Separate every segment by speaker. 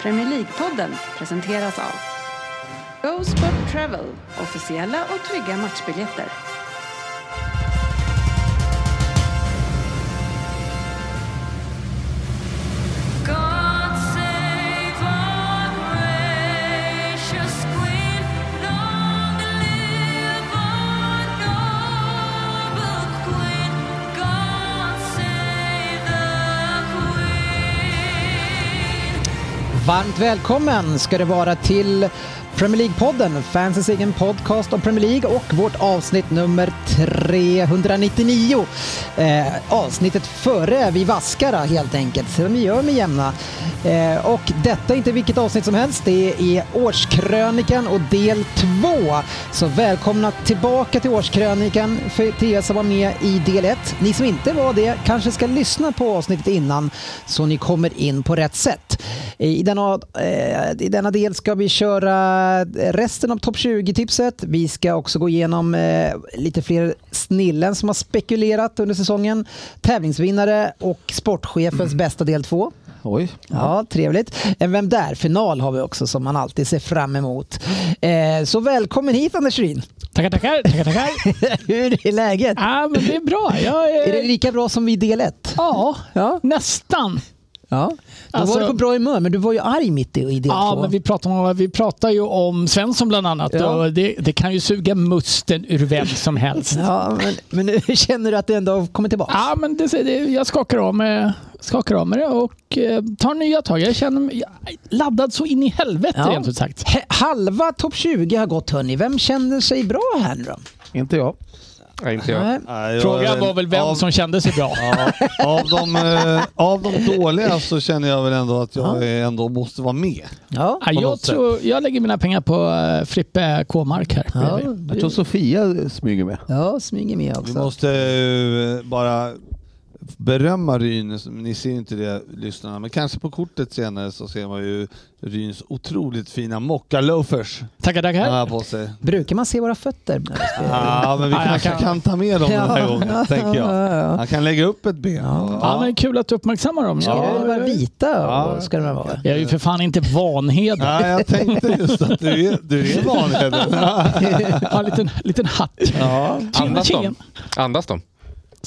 Speaker 1: Premier League-podden presenteras av Go Sport Travel, officiella och trygga matchbiljetter.
Speaker 2: God save our gracious Queen. Long live our noble Queen. God save the Queen.
Speaker 3: Varmt välkommen ska det vara till Premier League-podden, fansens egen podcast om Premier League och vårt avsnitt nummer 399. Eh, avsnittet före vi vaskar helt enkelt, som vi gör med jämna. Eh, och detta är inte vilket avsnitt som helst, det är årskrönikan och del två. Så välkomna tillbaka till årskrönikan för till er som var med i del ett. Ni som inte var det kanske ska lyssna på avsnittet innan så ni kommer in på rätt sätt. I denna, eh, i denna del ska vi köra resten av topp 20-tipset. Vi ska också gå igenom eh, lite fler snillen som har spekulerat under säsongen. Tävlingsvinnare och sportchefens bästa del två.
Speaker 4: Oj.
Speaker 3: Ja, trevligt. En Vem där-final har vi också som man alltid ser fram emot. Eh, så välkommen hit Anders Ryn.
Speaker 5: Tackar, tackar, tackar, tackar.
Speaker 3: Hur är läget?
Speaker 5: Ja, men det är bra. Jag är...
Speaker 3: Är det lika bra som vid del 1?
Speaker 5: Ja,
Speaker 3: Ja.
Speaker 5: nästan.
Speaker 3: ja. Då
Speaker 5: Alltså-
Speaker 3: var du på bra humör, men du var ju arg mitt i, i del 2.
Speaker 5: Ja, men vi pratar, om, vi pratar ju om Svensson bland annat
Speaker 3: Ja.
Speaker 5: och det, det kan ju suga musten ur vem som helst. Ja,
Speaker 3: Ja, men, men nu känner du att du ändå har kommit tillbaka?
Speaker 5: men det, det, jag skakar av, med, skakar av med det och eh, tar nya tag. Jag känner mig jag är laddad så in i helvete
Speaker 3: Ja.
Speaker 5: rent ut sagt.
Speaker 3: He- Halva topp 20 har gått hörni. Vem känner sig bra här nu då?
Speaker 4: Inte jag.
Speaker 6: Nej, inte jag.
Speaker 3: Nej.
Speaker 4: Nej, jag-
Speaker 5: Frågan var väl vem
Speaker 4: av,
Speaker 5: som kände sig bra.
Speaker 4: Ja, av, de, eh, av de dåliga så känner jag väl ändå att jag eh, ändå måste vara med.
Speaker 3: Ja.
Speaker 5: Ja, jag,
Speaker 4: något sätt.
Speaker 5: tror, jag lägger mina pengar på eh, Frippe K-mark här.
Speaker 3: Ja,
Speaker 7: Jag tror Sofia smyger med.
Speaker 3: ja, smyger med också.
Speaker 4: Vi måste eh, bara berömma Ryn. Ni ser inte det lyssnarna, men kanske på kortet senare så ser man ju Ryns otroligt fina mocka-loafers
Speaker 5: Tackar, tackar.
Speaker 4: han har på sig.
Speaker 3: Brukar man se våra fötter? när vi spelar?
Speaker 4: Ja, men vi
Speaker 5: Ja, jag
Speaker 4: kanske
Speaker 5: kan-
Speaker 4: kan. ta med dem den
Speaker 3: Ja.
Speaker 4: här gången, tänker jag. Han kan lägga upp ett ben.
Speaker 5: Ja, men kul att du uppmärksammar dem.
Speaker 3: Ska de vara vita?
Speaker 4: Ja.
Speaker 3: Och ska de vara?
Speaker 5: Jag är ju för fan inte Vanheden.
Speaker 4: Ja, jag tänkte just att du är, du är vanheden.
Speaker 5: Ja, en liten, liten hatt.
Speaker 4: Ja.
Speaker 5: Tjena,
Speaker 6: Andas
Speaker 5: tjena.
Speaker 6: de? Andas de?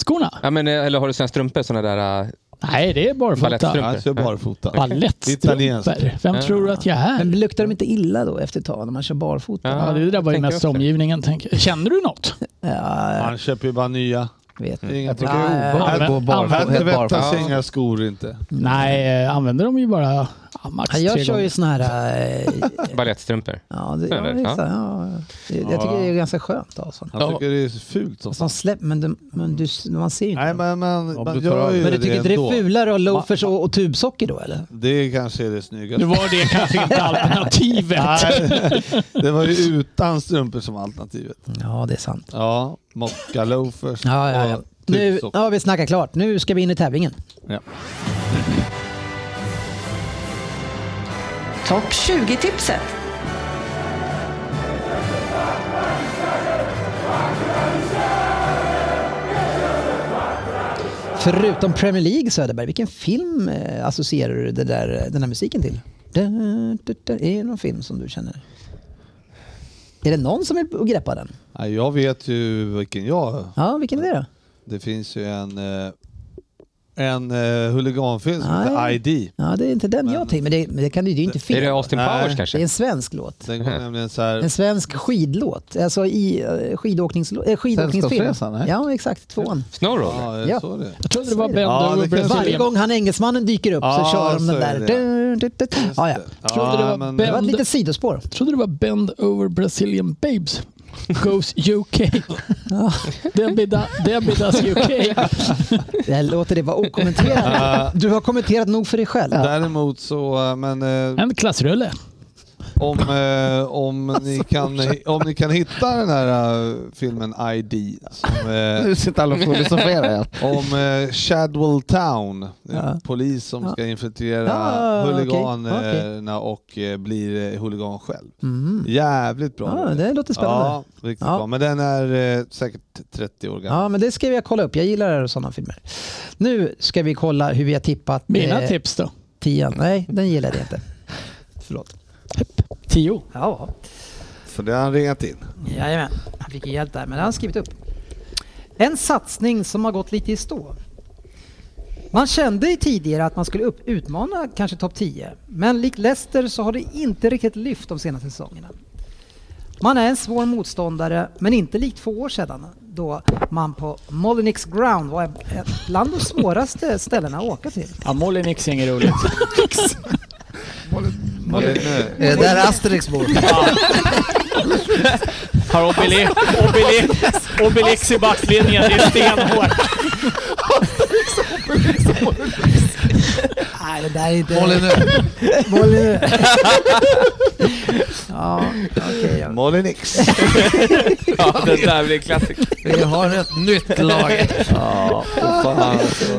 Speaker 5: Skorna?
Speaker 6: Ja, men, eh, eller har du såna här strumpor? Såna där... eh,
Speaker 5: Nej, det är barfota.
Speaker 6: Balettstrumpor.
Speaker 4: Han kör barfota.
Speaker 5: Balettstrumpor.
Speaker 4: Italienskt.
Speaker 5: Vem
Speaker 6: Ja.
Speaker 5: tror du att jag är?
Speaker 3: Men luktar de inte illa då efter ett tag när man kör barfota?
Speaker 6: Ja.
Speaker 5: Ja, det där var ju
Speaker 6: Tänker
Speaker 5: mest
Speaker 6: också.
Speaker 5: omgivningen. Tänker. jag. Känner du något?
Speaker 3: Ja,
Speaker 4: Han köper ju bara nya.
Speaker 3: jag vet
Speaker 4: Det
Speaker 3: inte.
Speaker 4: är inga
Speaker 7: Jag tycker det
Speaker 3: Nej.
Speaker 7: är obehagligt att gå
Speaker 5: Använd-
Speaker 7: barfota.
Speaker 4: Här
Speaker 7: helt
Speaker 4: tvättas
Speaker 7: barfota.
Speaker 6: barfota.
Speaker 4: inga skor inte.
Speaker 5: Nej, eh, använder de ju bara ja, max
Speaker 3: Ja,
Speaker 5: tre
Speaker 3: jag kör
Speaker 5: gånger.
Speaker 3: ju såna här... eh,
Speaker 6: Balettstrumpor.
Speaker 3: Ja, det, ja,
Speaker 6: Eller?
Speaker 3: visst,
Speaker 6: Ja.
Speaker 3: ja. Det- Jag tycker det är ganska skönt att ha sånt.
Speaker 4: Han tycker det är fult som
Speaker 3: Som
Speaker 4: fan.
Speaker 3: släpp, men, de, men du, man ser ju inte.
Speaker 4: Nej men man,
Speaker 7: Om
Speaker 4: man
Speaker 7: du tar
Speaker 4: gör
Speaker 7: av-
Speaker 4: ju
Speaker 3: Men du tycker inte det är
Speaker 4: ändå.
Speaker 3: fulare att ha loafers och, och tubsocker då eller?
Speaker 4: Det kanske är det
Speaker 5: Nu
Speaker 4: snyggaste.
Speaker 5: var det kanske inte alternativet.
Speaker 4: Nej, det var ju utan strumpor som alternativet.
Speaker 3: Ja, det är sant.
Speaker 4: Ja, mocka loafers.
Speaker 3: Ja, ja, ja.
Speaker 4: och
Speaker 3: Nu
Speaker 4: tubsock.
Speaker 3: har vi snackat klart. Nu ska vi in i tävlingen.
Speaker 4: Ja.
Speaker 1: Topp 20-tipset
Speaker 3: Förutom Premier League Söderberg, vilken film eh, associerar du det där, den här musiken till? Da, da, da. Är det någon film som du känner? Är det någon som vill greppa den?
Speaker 4: Ja, jag vet ju vilken jag...
Speaker 3: Ja, vilken är det då?
Speaker 4: Det finns ju en... eh, En eh, huliganfilm som heter
Speaker 3: Nej.
Speaker 4: ID.
Speaker 3: Ja, det är inte den jag tänkte, men det, men det kan det ju det är ju inte fel.
Speaker 6: Är det Austin
Speaker 4: Nej.
Speaker 6: Powers
Speaker 3: Det är
Speaker 6: kanske?
Speaker 3: en svensk låt.
Speaker 4: Den går nämligen så här...
Speaker 3: Mm. En svensk skidlåt. Alltså i eh, skidåkningslå- eh, skidåkningsfilm.
Speaker 7: Sällskapsresan, nej?
Speaker 3: Ja, exakt. Tvåan.
Speaker 6: Snowroller?
Speaker 4: Ja,
Speaker 3: Ja.
Speaker 4: jag såg det.
Speaker 5: Jag trodde det var
Speaker 3: Så är det.
Speaker 5: Ben
Speaker 4: Ja, det
Speaker 5: Dover
Speaker 4: kanske-
Speaker 3: Varje
Speaker 5: Brazilian.
Speaker 3: gång han engelsmannen dyker upp
Speaker 4: Ja,
Speaker 3: så kör de
Speaker 4: så
Speaker 3: den där.
Speaker 4: är det.
Speaker 3: Du, du, du, du. Ja, ja.
Speaker 5: Trodde det var
Speaker 4: men-
Speaker 3: Det var ett
Speaker 5: Ben-
Speaker 3: litet sidospår.
Speaker 5: trodde det var Bend Over Brazilian Babes. Goes UK. Debbie da- Debbie does UK.
Speaker 3: Jag låter det vara okommenterat. Du har kommenterat nog för dig själv.
Speaker 4: eh, Däremot så, eh, men eh,
Speaker 5: En klassrulle.
Speaker 4: om, eh, om, ni kan, om ni kan hitta den här eh, filmen ID, som, eh,
Speaker 7: Nu sitter alla och filosoferar.
Speaker 4: om eh, Shadwell Town,
Speaker 3: Ja.
Speaker 4: en polis som ska infiltrera
Speaker 3: Ah, okej.
Speaker 4: huliganerna och eh, blir eh, huligan själv.
Speaker 3: Mm.
Speaker 4: Jävligt bra.
Speaker 3: Ja, det låter spännande.
Speaker 4: Ja, riktigt
Speaker 3: Ja.
Speaker 4: bra. Men den är eh, säkert 30 år gammal.
Speaker 3: Ja, men det ska jag kolla upp. Jag gillar sådana filmer. Nu ska vi kolla hur vi har tippat
Speaker 5: Mina
Speaker 3: eh,
Speaker 5: tips då?
Speaker 3: tian. Nej, den gillade jag inte. Förlåt.
Speaker 5: Tio.
Speaker 3: Ja,
Speaker 4: För det har han ringat in.
Speaker 3: jajamän. Han fick hjälp där, men det har han skrivit upp. En satsning som har gått lite i stå. Man kände ju tidigare att man skulle upp, utmana kanske topp 10, men likt Leicester så har det inte riktigt lyft de senaste säsongerna. Man är en svår motståndare, men inte likt två år sedan då man på Molinix Ground var ett- bland de svåraste ställena att åka till.
Speaker 5: Ja, Molinix är inget roligt.
Speaker 4: Molineux.
Speaker 8: Är det Eh, där Asterix bor?
Speaker 5: Har Obeli- Obeli- Obelix i backlinjen. Det är stenhårt.
Speaker 3: Nej, det där är inte...
Speaker 8: Molineux.
Speaker 3: Ja, okej. ja.
Speaker 4: Molinix.
Speaker 6: Ja, det där blir klassik.
Speaker 8: Vi har ett nytt lag.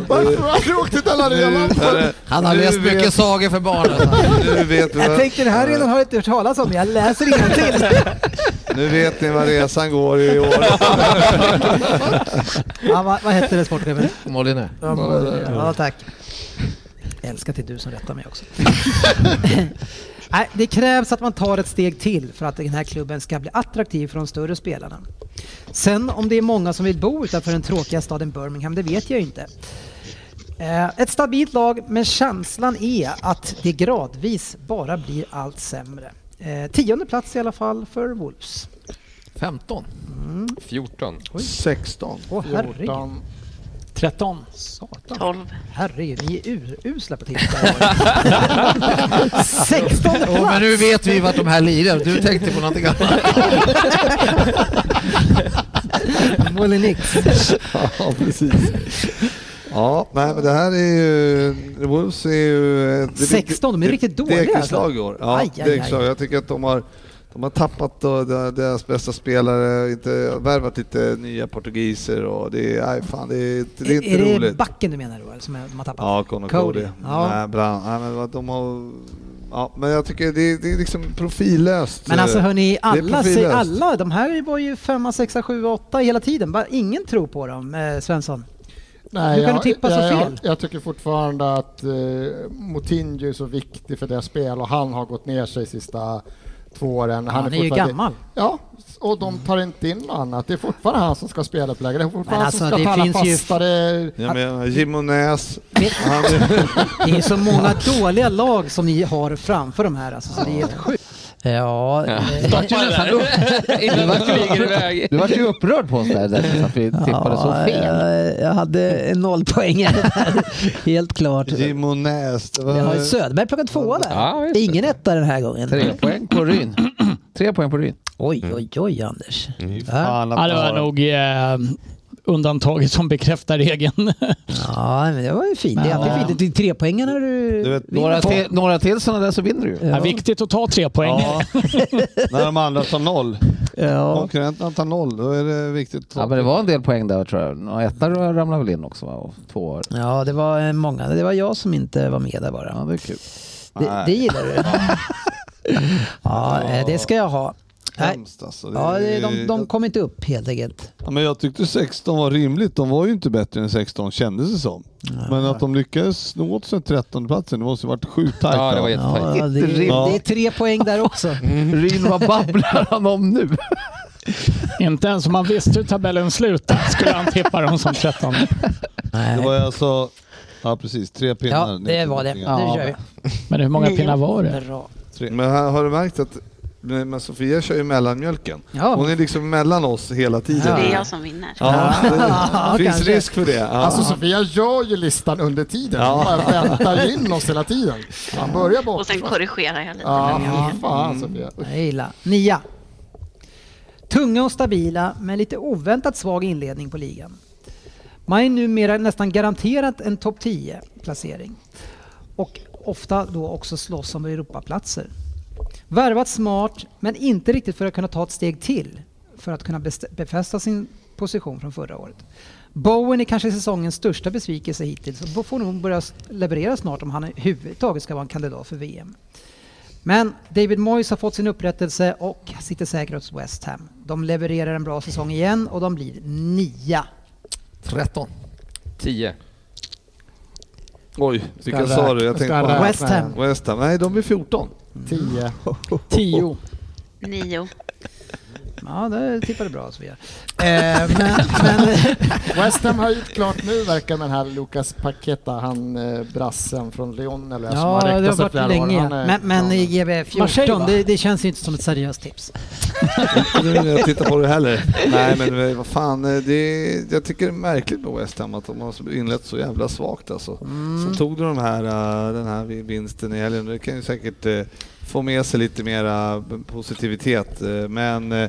Speaker 4: Varför har du åkt till Dallarena?
Speaker 8: Han har
Speaker 4: Nu
Speaker 8: läst
Speaker 4: vet-
Speaker 8: mycket sagor för barnen.
Speaker 4: Nu vet du
Speaker 3: Jag
Speaker 4: vad-
Speaker 3: tänkte det här redan har jag inte hört talas om, jag läser innantill.
Speaker 4: Nu vet ni vad resan går i år.
Speaker 3: Ja, vad, vad hette det sportchefen?
Speaker 8: Molineux.
Speaker 3: Ja, Molly. Ja, tack. Jag älskar att det är du som rättar mig också. Nej, det krävs att man tar ett steg till för att den här klubben ska bli attraktiv för de större spelarna. Sen om det är många som vill bo utanför den tråkiga staden Birmingham, det vet jag inte. Eh, Ett stabilt lag, men känslan är att det gradvis bara blir allt sämre. Eh, Tionde plats i alla fall för Wolves.
Speaker 8: 15.
Speaker 6: 14.
Speaker 4: 16.
Speaker 3: Åh herregud.
Speaker 5: 13.
Speaker 3: Satan. 12. Herregud, ni är urusla på tittare. 16
Speaker 8: Jo, men
Speaker 3: plats!
Speaker 8: nu vet vi vart de här lirar. Du tänkte på någonting annat.
Speaker 3: Molinix.
Speaker 4: Ja, precis. Ja, nej men det här är ju... Wolves är ju... eh, det-
Speaker 3: 16, de är
Speaker 4: det-
Speaker 3: riktigt dåliga,
Speaker 4: Det är
Speaker 3: alltså.
Speaker 4: slag i år. Ja,
Speaker 3: Aj, aj, aj.
Speaker 4: direkt slag. Jag tycker att de har, de har tappat då de- deras bästa spelare, inte, värvat lite nya portugiser och det är... Aj, fan, det är, inte- det är inte
Speaker 3: är det
Speaker 4: roligt.
Speaker 3: backen du menar då, eller som de har tappat?
Speaker 4: Ja, Connor Cody. Nej, bra. Nej, men vad de har... Ja, men jag tycker det är, det är liksom profillöst.
Speaker 3: Men alltså hörni, alla, säger,
Speaker 4: profillöst.
Speaker 3: alla, de här var ju femma, sexa, sjua, åtta hela tiden. Bara, ingen tror på dem, eh, Svensson.
Speaker 9: Nej,
Speaker 3: Hur kan du tippa så
Speaker 9: jag,
Speaker 3: fel?
Speaker 9: Jag, jag tycker fortfarande att eh, Moutinho är så viktig för deras spel och han har gått ner sig sista två åren.
Speaker 3: Han är ju
Speaker 9: fortfarande-
Speaker 3: gammal.
Speaker 9: Ja, och de tar inte in något annat. Det är fortfarande han som ska spela upp lägre. Det är fortfarande
Speaker 3: Men
Speaker 9: han som
Speaker 3: alltså,
Speaker 9: ska
Speaker 3: det
Speaker 9: ta alla
Speaker 3: finns ju-
Speaker 9: fastare.
Speaker 4: Jag menar, Jim O'Näs.
Speaker 3: Men-
Speaker 4: Han är...
Speaker 3: Det är så många dåliga lag som ni har framför de här alltså, så det är helt sjukt.
Speaker 8: Ja,
Speaker 6: Innan den flyger iväg.
Speaker 7: Du var ju upprörd på oss där, där att vi tippade så fel.
Speaker 10: Jag, jag hade noll poäng här. Helt klart.
Speaker 4: Jim O'Näs. Det
Speaker 10: Jag har ju
Speaker 4: var...
Speaker 10: Söderberg plockat tvåa där.
Speaker 6: Ja, just det.
Speaker 10: Ingen etta den här gången.
Speaker 7: Tre poäng på Ryn. Tre poäng på Ryn.
Speaker 10: Oj, oj, oj Anders.
Speaker 4: Fan, att
Speaker 5: Ja, det
Speaker 4: man
Speaker 5: var
Speaker 4: har-
Speaker 5: nog eh, undantaget som bekräftar regeln.
Speaker 10: Ja, men det var ju fint. Det är
Speaker 5: Ja.
Speaker 10: alltid fint. Det är tre poängen när du...
Speaker 4: Du vet,
Speaker 7: Några till, några till sådana där så vinner du ju.
Speaker 5: Ja. Viktigt att ta tre poäng.
Speaker 4: Ja, när de andra tar noll.
Speaker 10: Ja.
Speaker 4: Konkurrenterna tar noll, då är det viktigt. att-
Speaker 7: Ja, men det var en del poäng där tror jag. Nå, Etta ramlade väl in också va? Och två
Speaker 10: ja, det var eh, många. Det var jag som inte var med där bara.
Speaker 7: Ja, det är kul.
Speaker 10: Det, det gillar du. ja, eh, det ska jag ha. Nej.
Speaker 4: Hemskt alltså. Det
Speaker 10: Ja, det-
Speaker 4: är-
Speaker 10: de, de kom inte upp helt enkelt.
Speaker 4: Ja, men jag tyckte 16 var rimligt. De var ju inte bättre än 16 kändes det som. Men att de lyckades sno åt sig 13 platsen det måste ju varit sjukt tajt.
Speaker 6: Ja, det var
Speaker 4: då.
Speaker 6: jättetajt.
Speaker 10: Ja, det, det är tre poäng där också.
Speaker 7: Ryn, vad babblar han om nu?
Speaker 5: Inte ens om man visste hur tabellen slutade skulle han tippa dem som 13.
Speaker 4: det var ju alltså... Ja precis, tre pinnar.
Speaker 10: Ja,
Speaker 4: ner
Speaker 10: det
Speaker 4: till
Speaker 10: var det. Nu
Speaker 4: Nottingham.
Speaker 10: kör vi.
Speaker 5: Men hur många pinnar var det?
Speaker 3: Bra.
Speaker 4: Tre. Men har har du märkt att men Sofia kör ju mellanmjölken.
Speaker 3: Ja.
Speaker 4: Hon är liksom mellan oss hela tiden.
Speaker 3: Ja.
Speaker 11: Det är jag som vinner.
Speaker 4: Ja,
Speaker 3: Ja,
Speaker 4: det finns
Speaker 3: kanske.
Speaker 4: risk för det. Ja.
Speaker 9: Alltså Sofia gör ju listan under tiden. Hon bara väntar in oss hela tiden. Han börjar
Speaker 11: Och
Speaker 9: bort.
Speaker 11: sen korrigerar jag lite.
Speaker 9: Ja,
Speaker 11: men
Speaker 9: fy fan Sofia.
Speaker 3: Jag gillar. Nia. Tunga och stabila, men lite oväntat svag inledning på ligan. Man är numera nästan garanterat en topp 10-placering. Och ofta då också slåss om Europaplatser. Värvat smart, men inte riktigt för att kunna ta ett steg till för att kunna best- befästa sin position från förra året. Bowen är kanske säsongens största besvikelse hittills och då får nog börja s- leverera snart om han överhuvudtaget ska vara en kandidat för VM. Men David Moyes har fått sin upprättelse och sitter säkert hos West Ham. De levererar en bra säsong igen och de blir nia.
Speaker 8: 13.
Speaker 6: 10.
Speaker 4: Oj, vilka
Speaker 9: jag
Speaker 4: sa du? Jag tänkte
Speaker 9: räkna? Ska jag
Speaker 4: på
Speaker 9: räkna? West Ham.
Speaker 4: West Ham. Nej, de blir 14.
Speaker 9: 10.
Speaker 5: 10.
Speaker 2: Nio.
Speaker 3: Ja, det tippade bra Sofia. Eh,
Speaker 9: West Ham har gjort klart nu verkar med den här Lucas Paqueta, han eh, brassen från Lyon eller som
Speaker 3: Ja, det
Speaker 9: ryktats
Speaker 3: har
Speaker 9: i flera
Speaker 3: varit
Speaker 9: år.
Speaker 3: länge.
Speaker 9: Han är-
Speaker 3: Men, men i
Speaker 5: eh,
Speaker 3: GB
Speaker 5: Marseille, va?
Speaker 3: 14, det, det känns ju inte som ett seriöst tips.
Speaker 4: Nu vill jag titta på det heller. Nej, men vad fan. eh, Det, är- jag tycker det är märkligt med West Ham att de har inlett så jävla svagt alltså. Så tog de de här, eh, den här vinsten i helgen. Det kan ju säkert eh, få med sig lite mera eh, positivitet. eh, Men eh,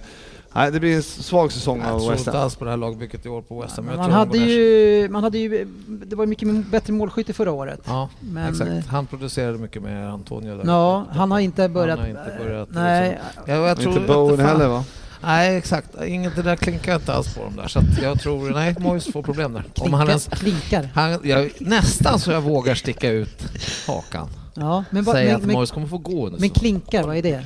Speaker 4: nej, det blir en svag säsong
Speaker 8: Jag
Speaker 4: av
Speaker 8: tror
Speaker 4: West
Speaker 8: inte
Speaker 4: Ham.
Speaker 8: alls på det här lagbygget i år på West Ham. Jag
Speaker 3: Man
Speaker 8: tror de
Speaker 3: hade,
Speaker 8: går ner sig.
Speaker 3: ju, man hade ju, det var ju mycket bättre målskytte förra året.
Speaker 8: Ja,
Speaker 3: Men, eh,
Speaker 8: exakt. Han producerade mycket med Antonio där.
Speaker 3: Ja, han har inte börjat...
Speaker 8: Han har inte börjat
Speaker 3: nej,
Speaker 8: liksom. jag, jag
Speaker 4: Inte
Speaker 8: tror,
Speaker 4: Bowen
Speaker 8: fan.
Speaker 4: heller, va?
Speaker 8: Nej, exakt. Inget, det där klinkar inte alls på dem där. Så att jag tror... Nej, Moyes får problem där. Om han ens,
Speaker 3: klinkar.
Speaker 8: han, jag, nästan så jag vågar sticka ut hakan.
Speaker 3: Ja, men,
Speaker 8: Men
Speaker 3: ba,
Speaker 8: Säga
Speaker 3: men,
Speaker 8: att
Speaker 3: men,
Speaker 8: Moyes kommer få gå under
Speaker 3: men
Speaker 8: säsongen.
Speaker 3: klinkar, vad är det?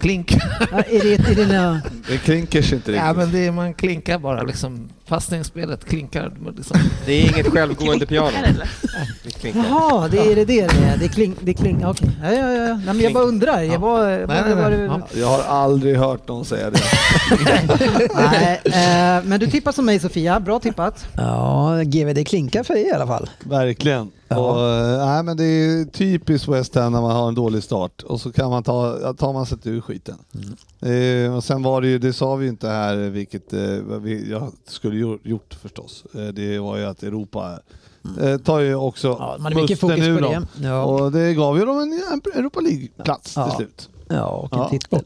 Speaker 8: Klink.
Speaker 3: Ja, är det, är det några-
Speaker 4: Det klinkers inte
Speaker 8: Ja,
Speaker 4: riktigt.
Speaker 8: men det är, man klinkar bara liksom. Passningsspelet klinkar. men Liksom.
Speaker 6: Det är inget självgående piano.
Speaker 2: Eller?
Speaker 6: Det klinkar.
Speaker 3: Jaha, det är det det det är? Det kling, det kling, okej. Ja, ja, ja. Nej, men jag bara undrar. Jag var, nej,
Speaker 8: Nej, nej,
Speaker 3: var,
Speaker 8: nej.
Speaker 3: var,
Speaker 8: Ja.
Speaker 4: Jag har aldrig hört någon säga det.
Speaker 3: nej, eh, men du tippar som mig Sofia, bra tippat.
Speaker 12: Ja, GB, det klinkar för er i alla fall.
Speaker 4: Verkligen. Och, eh, nej, men det är typiskt West Ham när man har en dålig start och så kan man ta, ja, tar man sig ur skiten. Eh, och sen var det ju, det sa vi ju inte här, vilket eh, vad vi, jag skulle ju gjort förstås. Eh, det var ju att Europa eh, tar ju också
Speaker 12: Ja, man är mycket
Speaker 4: musten
Speaker 12: fokus
Speaker 4: ur
Speaker 12: på det.
Speaker 4: dem.
Speaker 12: Ja.
Speaker 4: Och det gav ju dem en Europa League-plats
Speaker 12: Ja.
Speaker 4: till slut.
Speaker 12: Ja, och en
Speaker 4: Ja.
Speaker 12: titel.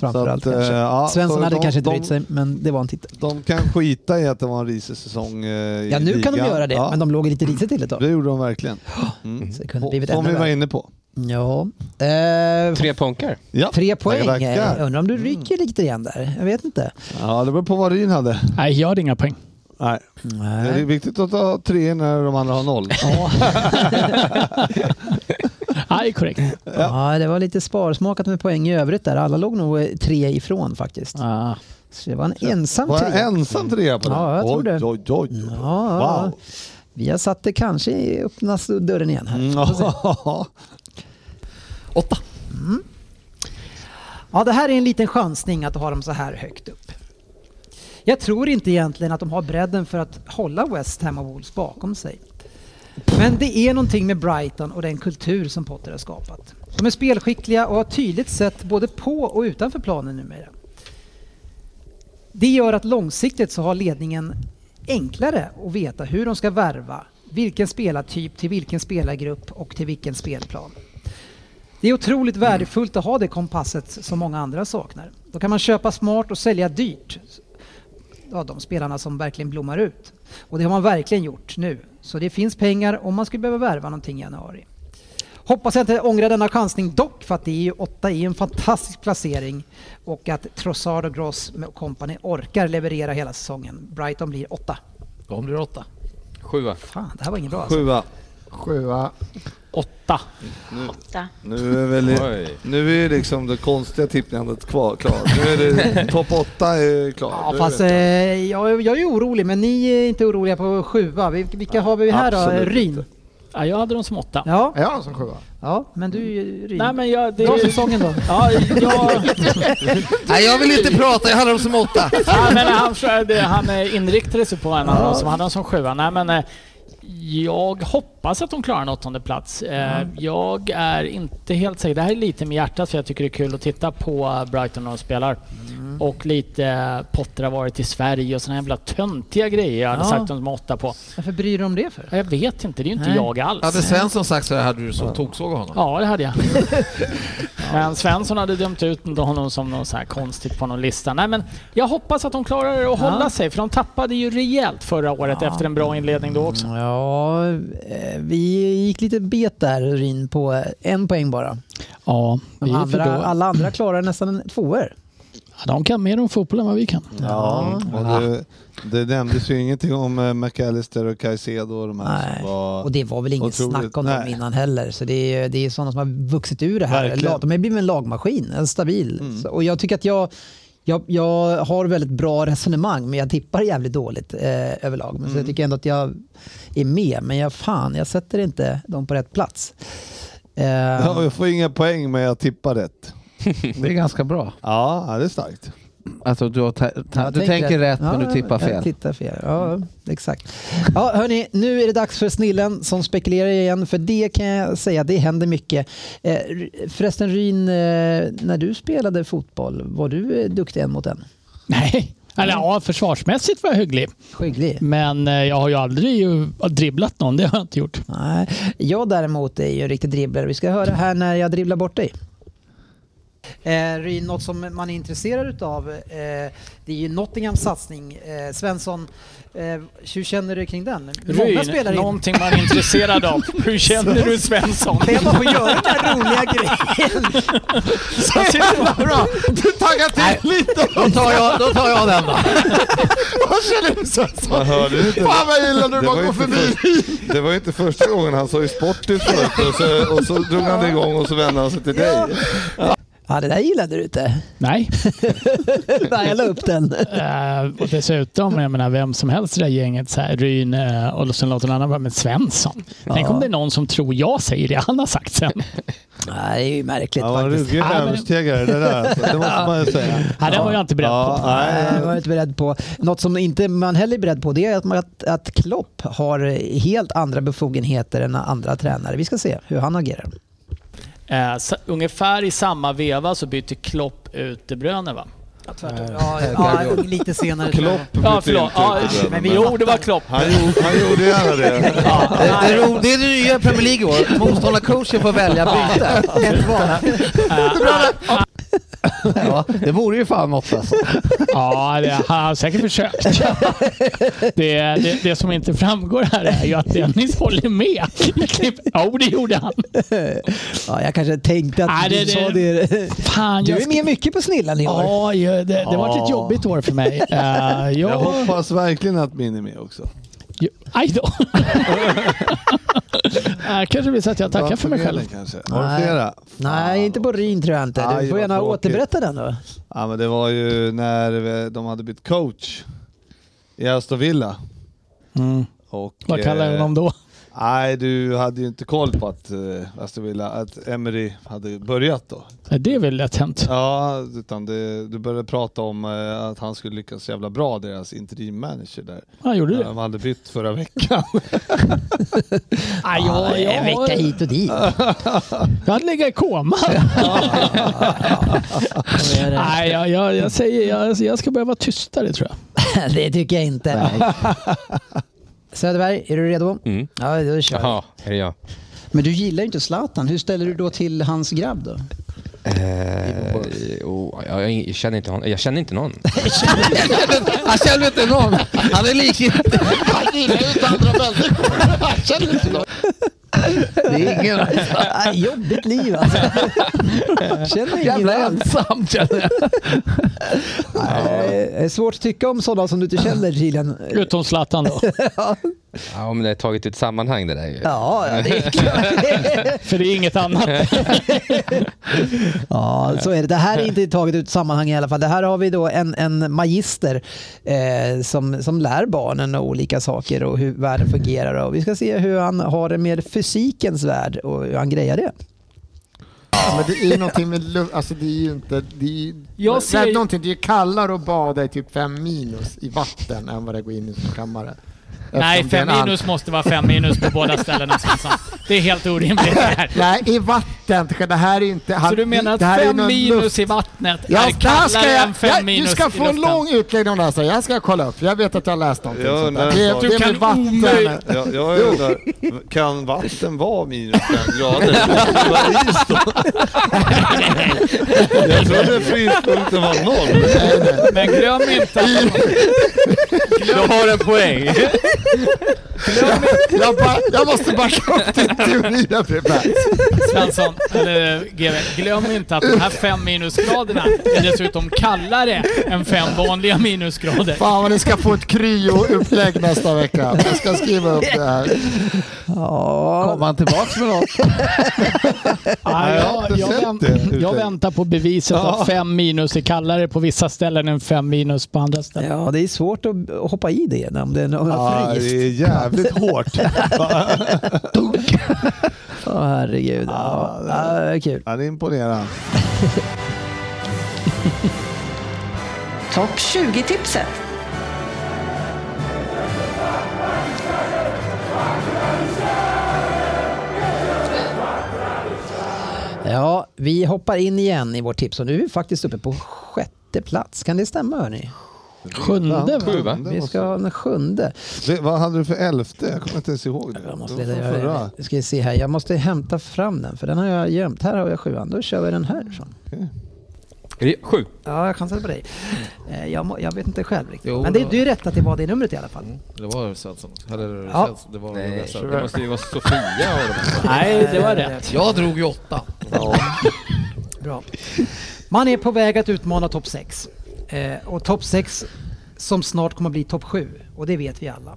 Speaker 12: Framförallt
Speaker 4: Så att, eh,
Speaker 12: kanske.
Speaker 4: ja,
Speaker 12: Svensson
Speaker 4: så
Speaker 12: hade
Speaker 4: de-
Speaker 12: kanske inte
Speaker 4: de-
Speaker 12: brytt sig, men det var en titel.
Speaker 4: De kan skita i att det var en risig säsong eh, i
Speaker 12: Ja, nu kan de
Speaker 4: ligan.
Speaker 12: göra det,
Speaker 4: Ja,
Speaker 12: men de låg lite risigt till ett tag.
Speaker 4: Det gjorde de verkligen. Mm.
Speaker 12: Så det kunde
Speaker 4: Och-
Speaker 12: blivit
Speaker 4: Som
Speaker 12: ännu
Speaker 4: vi var
Speaker 12: värre.
Speaker 4: inne på.
Speaker 12: Mm, Ja. Eh,
Speaker 6: Tre punkar.
Speaker 4: Ja.
Speaker 12: tre poäng.
Speaker 4: Tackar, tackar.
Speaker 12: Eh, Undrar om du ryker lite igen där. Jag vet inte.
Speaker 4: Ja, det beror på vad Ryn hade.
Speaker 5: Nej, jag hade inga poäng.
Speaker 4: Nej. Det är viktigt att ha tre när de andra har noll.
Speaker 5: Nej, korrekt.
Speaker 12: Ja. det var lite sparsmakat med poäng i övrigt där. Alla låg nog eh, tre ifrån faktiskt.
Speaker 5: Ah.
Speaker 12: Så det var en ensam
Speaker 4: Var jag
Speaker 12: trea.
Speaker 4: ensam trea på den?
Speaker 12: Ja, jag tror
Speaker 4: oj,
Speaker 12: det.
Speaker 4: Oj, oj, oj.
Speaker 12: Ja, ja.
Speaker 4: Wow.
Speaker 12: Vi har satt det kanske i öppna dörren igen här.
Speaker 4: Ja.
Speaker 8: Åtta.
Speaker 3: Ja, det här är en liten chansning att ha dem så här högt upp. Jag tror inte egentligen att de har bredden för att hålla West Ham och Wolves bakom sig. Men det är någonting med Brighton och den kultur som Potter har skapat. De är spelskickliga och har tydligt sett både på och utanför planen numera. Det gör att långsiktigt så har ledningen enklare att veta hur de ska värva, vilken spelartyp till vilken spelargrupp och till vilken spelplan. Det är otroligt värdefullt att ha det kompasset som många andra saknar. Då kan man köpa smart och sälja dyrt. Ja, de spelarna som verkligen blommar ut. Och det har man verkligen gjort nu. Så det finns pengar om man skulle behöva värva någonting i januari. Hoppas jag inte ångrar denna chansning dock för att det är ju åtta i en fantastisk placering och att Trossard och Gross med company orkar leverera hela säsongen. Brighton blir åtta.
Speaker 8: De blir åtta.
Speaker 6: Sjua.
Speaker 3: Fan, det här var ingen bra alltså.
Speaker 4: Sjua.
Speaker 9: Sjua.
Speaker 5: Åtta.
Speaker 2: Åtta.
Speaker 4: Nu är, väl,
Speaker 6: Oj.
Speaker 4: nu är liksom det konstiga tippningandet kvar. Klar. Nu är det topp åtta är klar.
Speaker 3: Ja,
Speaker 4: Nu
Speaker 3: fast
Speaker 4: vet
Speaker 3: eh,
Speaker 4: jag.
Speaker 3: jag, jag är orolig, men ni är inte oroliga på sjua. Vil- Vilka har vi här då?
Speaker 4: absolut
Speaker 3: Ryn?
Speaker 4: inte.
Speaker 5: Ja, jag hade dem som åtta.
Speaker 3: Ja,
Speaker 9: Är jag som sjua?
Speaker 3: ja, men du är ju Ryn.
Speaker 5: Nej, men jag... Det,
Speaker 3: Bra säsongen då.
Speaker 5: ja, jag,
Speaker 8: Nej, jag vill inte prata. Jag hade dem som åtta.
Speaker 5: ja, men han, försökte- han eh, inriktade sig på en annan som hade dem som sjua. Nej, men eh, jag hoppas att de klarar en åttonde plats. Eh, Jag är inte helt säker. Det här är lite med hjärtat för jag tycker det är kul att titta på eh, Brighton när de spelar. Och lite eh, Potter har varit i Sverige och sådana jävla töntiga grejer jag hade
Speaker 3: Ja.
Speaker 5: sagt dem som åtta på.
Speaker 3: Varför bryr du om det för?
Speaker 5: Ja, Jag vet inte, det är ju inte
Speaker 3: Nej.
Speaker 5: jag alls.
Speaker 8: Hade Svensson sagt så här hade du så toksågat honom.
Speaker 5: Ja, det hade jag. Men Svensson hade dömt ut honom som någon så här konstigt på någon lista. Nej, men jag hoppas att de klarar att hålla sig, för de tappade ju rejält förra året efter en bra inledning då också.
Speaker 12: Ja, eh, vi gick lite bet där Ryn på eh, en poäng bara.
Speaker 5: Ja,
Speaker 12: De andra, alla andra klarar nästan en tvåor.
Speaker 5: de kan mer om fotboll än vad vi kan.
Speaker 4: Ja, och det, det nämndes ju ingenting om eh, McAllister och Caicedo och de här
Speaker 12: Nej.
Speaker 4: som var...
Speaker 12: Och det var väl inget
Speaker 4: otroligt.
Speaker 12: snack om dem
Speaker 4: Nej.
Speaker 12: innan heller. Så det är, det är sådana som har vuxit ur det här.
Speaker 4: Verkligen. Mm.
Speaker 12: De har blivit en lagmaskin, en stabil. Så, och jag tycker att jag,
Speaker 3: jag, jag har väldigt bra resonemang men jag tippar jävligt dåligt eh, överlag. Men Så jag
Speaker 10: Mm.
Speaker 3: tycker ändå att jag är med men jag, fan, jag sätter inte dem på rätt plats. Eh,
Speaker 4: Ja, jag får inga poäng men jag tippar rätt.
Speaker 7: Det är ganska bra.
Speaker 4: Ja, det är starkt.
Speaker 7: Alltså du, har ta- ta-
Speaker 3: Ja,
Speaker 7: du
Speaker 3: tänk
Speaker 7: tänker rätt, men
Speaker 3: Ja,
Speaker 7: du tippar fel.
Speaker 3: Jag tittar fel. Ja, exakt. Ja, hörni, nu är det dags för snillen som spekulerar igen. För det kan jag säga, det händer mycket. Eh, r- Förresten Ryn, eh, när du spelade fotboll, var du eh, duktig en mot en?
Speaker 5: Nej. Eller ja, försvarsmässigt var jag hygglig.
Speaker 3: Hygglig.
Speaker 5: Men eh, jag har ju aldrig eh, dribblat någon, det har jag inte gjort.
Speaker 3: Nej, jag däremot är ju en riktig dribblare. Vi ska höra här när jag dribblar bort dig. Eh, Ryn, något som man är intresserad utav, eh, det är ju Nottinghams satsning. Eh, Svensson, eh, hur känner du kring den?
Speaker 5: Ryn, någonting man är intresserad av. Hur känner du Svensson?
Speaker 3: Det är bara att göra den här roliga grejen.
Speaker 5: Så jävla bra!
Speaker 4: Du taggar till lite!
Speaker 8: Då tar jag, då tar jag den då.
Speaker 9: Vad känner du Svensson?
Speaker 4: Man hörde ju inte.
Speaker 9: Fan vad jag gillar när
Speaker 4: Det
Speaker 9: du
Speaker 4: var
Speaker 9: bara går
Speaker 4: inte
Speaker 9: förbi.
Speaker 4: först- Det var ju inte första gången han sa ju Sportis förut och så, och så drog han det igång och så vände han sig till dig.
Speaker 3: Ja, det där gillade du inte.
Speaker 5: Nej.
Speaker 3: Nej, jag la upp den.
Speaker 5: Eh, och dessutom, jag menar vem som helst i det här gänget, så här, Ryn eh, och sen låter någon annan vara med Svensson. Tänk om det är någon som tror jag säger det han har sagt sen.
Speaker 3: Nej, det är ju märkligt
Speaker 4: Ja, vad
Speaker 3: faktiskt.
Speaker 4: ruggig överstegare det där alltså. Det måste man ju säga.
Speaker 5: Ja, det var jag inte beredd
Speaker 4: Ja,
Speaker 5: på.
Speaker 4: nej.
Speaker 3: Nej, jag var inte beredd på. Något som inte man heller är beredd på det är att, man- att, att Klopp har helt andra befogenheter än andra tränare. Vi ska se hur han agerar.
Speaker 5: Eh, sa- ungefär i samma veva så byter Klopp ut De Bruyne va?
Speaker 3: Eh,
Speaker 10: Ja, ja, lite senare. tror jag.
Speaker 4: Klopp
Speaker 5: Ja, förlåt. Ja,
Speaker 4: men
Speaker 5: men jo, det var Klopp.
Speaker 4: Han gjorde, han gjorde gärna det.
Speaker 8: Det, det, ro, det är det nya i Premier League i år. Motståndarcoachen får välja byte.
Speaker 10: Ett var.
Speaker 5: Eh,
Speaker 7: Ja, det vore ju fan något alltså.
Speaker 5: Ja, det har han säkert försökt. Det, det, det som inte framgår här är ju att Dennis håller med. i klipp- Ja, det gjorde han.
Speaker 3: Ja, jag kanske tänkte att
Speaker 5: Nej, det-
Speaker 3: du sa
Speaker 5: det-
Speaker 3: det.
Speaker 5: Fan,
Speaker 3: Du
Speaker 5: jag
Speaker 3: är med mycket på snillan i år.
Speaker 5: Ja, ju- det, det var ett jobbigt år för mig. Eh,
Speaker 4: Jag
Speaker 5: jag...
Speaker 4: hoppas verkligen att min är med också.
Speaker 5: ju- Aj då. Eh, kanske blir så att jag tackar för mig själv.
Speaker 4: Vattendelaren Kanske. Har du
Speaker 3: Nej.
Speaker 4: flera?
Speaker 3: Nej, inte på Ryn tror jag inte. Du
Speaker 4: Aj,
Speaker 3: får
Speaker 4: vad
Speaker 3: gärna
Speaker 4: tråkigt.
Speaker 3: återberätta den då.
Speaker 4: Ja, men det var ju när de hade bytt coach i Aston Villa. Och,
Speaker 5: Vad kallar jag
Speaker 4: Mm. eh,
Speaker 5: honom då?
Speaker 4: Nej, du hade ju inte koll på att eh, Aston Villa, att Emery hade börjat då.
Speaker 5: Eh, Det är väl lätt hänt.
Speaker 4: Ja, utan det, du började prata om eh, att han skulle lyckas jävla bra, deras interimmanager där.
Speaker 5: Han gjorde
Speaker 4: När
Speaker 5: det.
Speaker 4: de hade bytt förra veckan.
Speaker 5: Aj, jag, jag,
Speaker 3: En vecka hit och dit.
Speaker 5: jag hade legat i koma. Nej, jag, jag, jag säger jag, jag ska behöva vara tystare tror jag.
Speaker 3: Det tycker jag inte. Söderberg, är du redo?
Speaker 6: Mm.
Speaker 3: Ja, då kör vi.
Speaker 6: Jaha, är det jag?
Speaker 3: Men du gillar ju inte Zlatan. Hur ställer du då till hans grabb då?
Speaker 6: Eh, oh, jag, jag, jag känner inte honom. Jag känner inte någon.
Speaker 8: Han känner inte någon. Han är likgiltig.
Speaker 9: Han gillar ju inte andra människor. Han känner inte dem.
Speaker 8: Det är ingen
Speaker 3: Ah, jobbigt liv alltså. Känner ingen
Speaker 8: jävla
Speaker 3: alls.
Speaker 8: ensam känner jag.
Speaker 3: Nej, det är svårt att tycka om sådana som du inte känner Gillian.
Speaker 5: Utom Zlatan då.
Speaker 6: Ja, men det är taget ut sammanhang det där ju.
Speaker 3: Ja, ja, det är klart.
Speaker 5: För det är inget annat.
Speaker 3: ja, så är det. Det här är inte taget ut sammanhang i alla fall. Det här har vi då en, en magister eh, som, som lär barnen olika saker och hur världen fungerar. Och vi ska se hur han har det med fysikens värld och hur han grejar det.
Speaker 9: Men det är ju någonting med luft, alltså det är ju inte, det är ju,
Speaker 5: Jag
Speaker 9: jag
Speaker 5: ser-
Speaker 9: ser... någonting, det är ju kallare att bada i typ fem minus i vatten än vad det går in i en kammare.
Speaker 5: Nej,
Speaker 9: Eftersom det är
Speaker 5: fem
Speaker 9: en annan-
Speaker 5: minus måste vara fem minus på båda ställena Svensson. Det är helt orimligt det här.
Speaker 9: Nej, i vatten. Det här är inte...
Speaker 5: Så
Speaker 9: han-
Speaker 5: du menar att
Speaker 9: det här är
Speaker 5: fem
Speaker 9: någon
Speaker 5: minus
Speaker 9: luft-
Speaker 5: i vattnet är
Speaker 9: Ja, det här ska
Speaker 5: kallare
Speaker 9: jag,
Speaker 5: än fem
Speaker 9: jag,
Speaker 5: minus
Speaker 9: du ska få
Speaker 5: i
Speaker 9: en
Speaker 5: luften?
Speaker 9: lång utläggning om det här sen. Jag ska kolla upp. för Jag vet att jag har läst någonting
Speaker 4: Jag
Speaker 9: sånt där.
Speaker 4: undrar
Speaker 9: Det,
Speaker 4: en sak.
Speaker 9: är- det
Speaker 5: Du
Speaker 9: är
Speaker 5: kan
Speaker 9: med vatten.
Speaker 5: omöjligt-
Speaker 4: Jag, jag undrar, kan vatten vara minus fem grader? Det var is då. Jag trodde fryspunkten var noll.
Speaker 9: Nej, nej.
Speaker 5: Men glöm inte att...
Speaker 6: Jag har en poäng.
Speaker 9: jag, ba- jag måste backa upp din teori. Jag blev bara-
Speaker 5: Svensson, eller GV, glöm inte att de här fem minusgraderna är dessutom kallare än fem vanliga minusgrader.
Speaker 9: Fan vad ni ska få ett kryoupplägg nästa vecka. Jag ska skriva upp det här.
Speaker 7: Kommer han tillbaks med något?
Speaker 5: Ja, jag, jag, vänt, jag väntar på beviset
Speaker 3: Ja.
Speaker 5: att fem minus är kallare på vissa ställen än fem minus på andra ställen.
Speaker 3: Ja, det är svårt att hoppa i det om det är något
Speaker 5: Ja,
Speaker 3: friskt.
Speaker 5: det är jävligt
Speaker 9: hårt.
Speaker 3: Dunk. Åh herregud. Ja, det är kul.
Speaker 9: Ja, det imponerar.
Speaker 1: Topp 20-tipset.
Speaker 3: Ja, vi hoppar in igen i vårt tips och nu är vi faktiskt uppe på sjätte plats. Kan det stämma hörni?
Speaker 4: Sjunde, va? Sju, va?
Speaker 3: Vi ska ha den sjunde.
Speaker 4: Det, vad hade du för elfte? Jag kommer inte ens ihåg det. Jag
Speaker 3: måste Det där jag, jag ska vi se här. jag måste hämta fram den för den har jag gömt. Här har jag sjuan, då kör vi den här. Så.
Speaker 6: Är det Sju.
Speaker 3: Ja, jag chansade på dig. Eh, Jag, må- jag vet inte själv riktigt.
Speaker 8: Jo,
Speaker 3: Men det,
Speaker 8: då-
Speaker 3: du är rätt att det var det numret i alla fall.
Speaker 8: Det var Svensson. Eller
Speaker 3: Ja.
Speaker 8: Svensson. Det var
Speaker 6: Nej,
Speaker 8: Svensson.
Speaker 6: det måste ju vara Sofia och de här.
Speaker 5: Nej, det var rätt.
Speaker 8: Jag drog ju åtta.
Speaker 10: Bra.
Speaker 3: Man är på väg att utmana topp 6. Eh, och topp 6 som snart kommer att bli topp 7. Och det vet vi alla.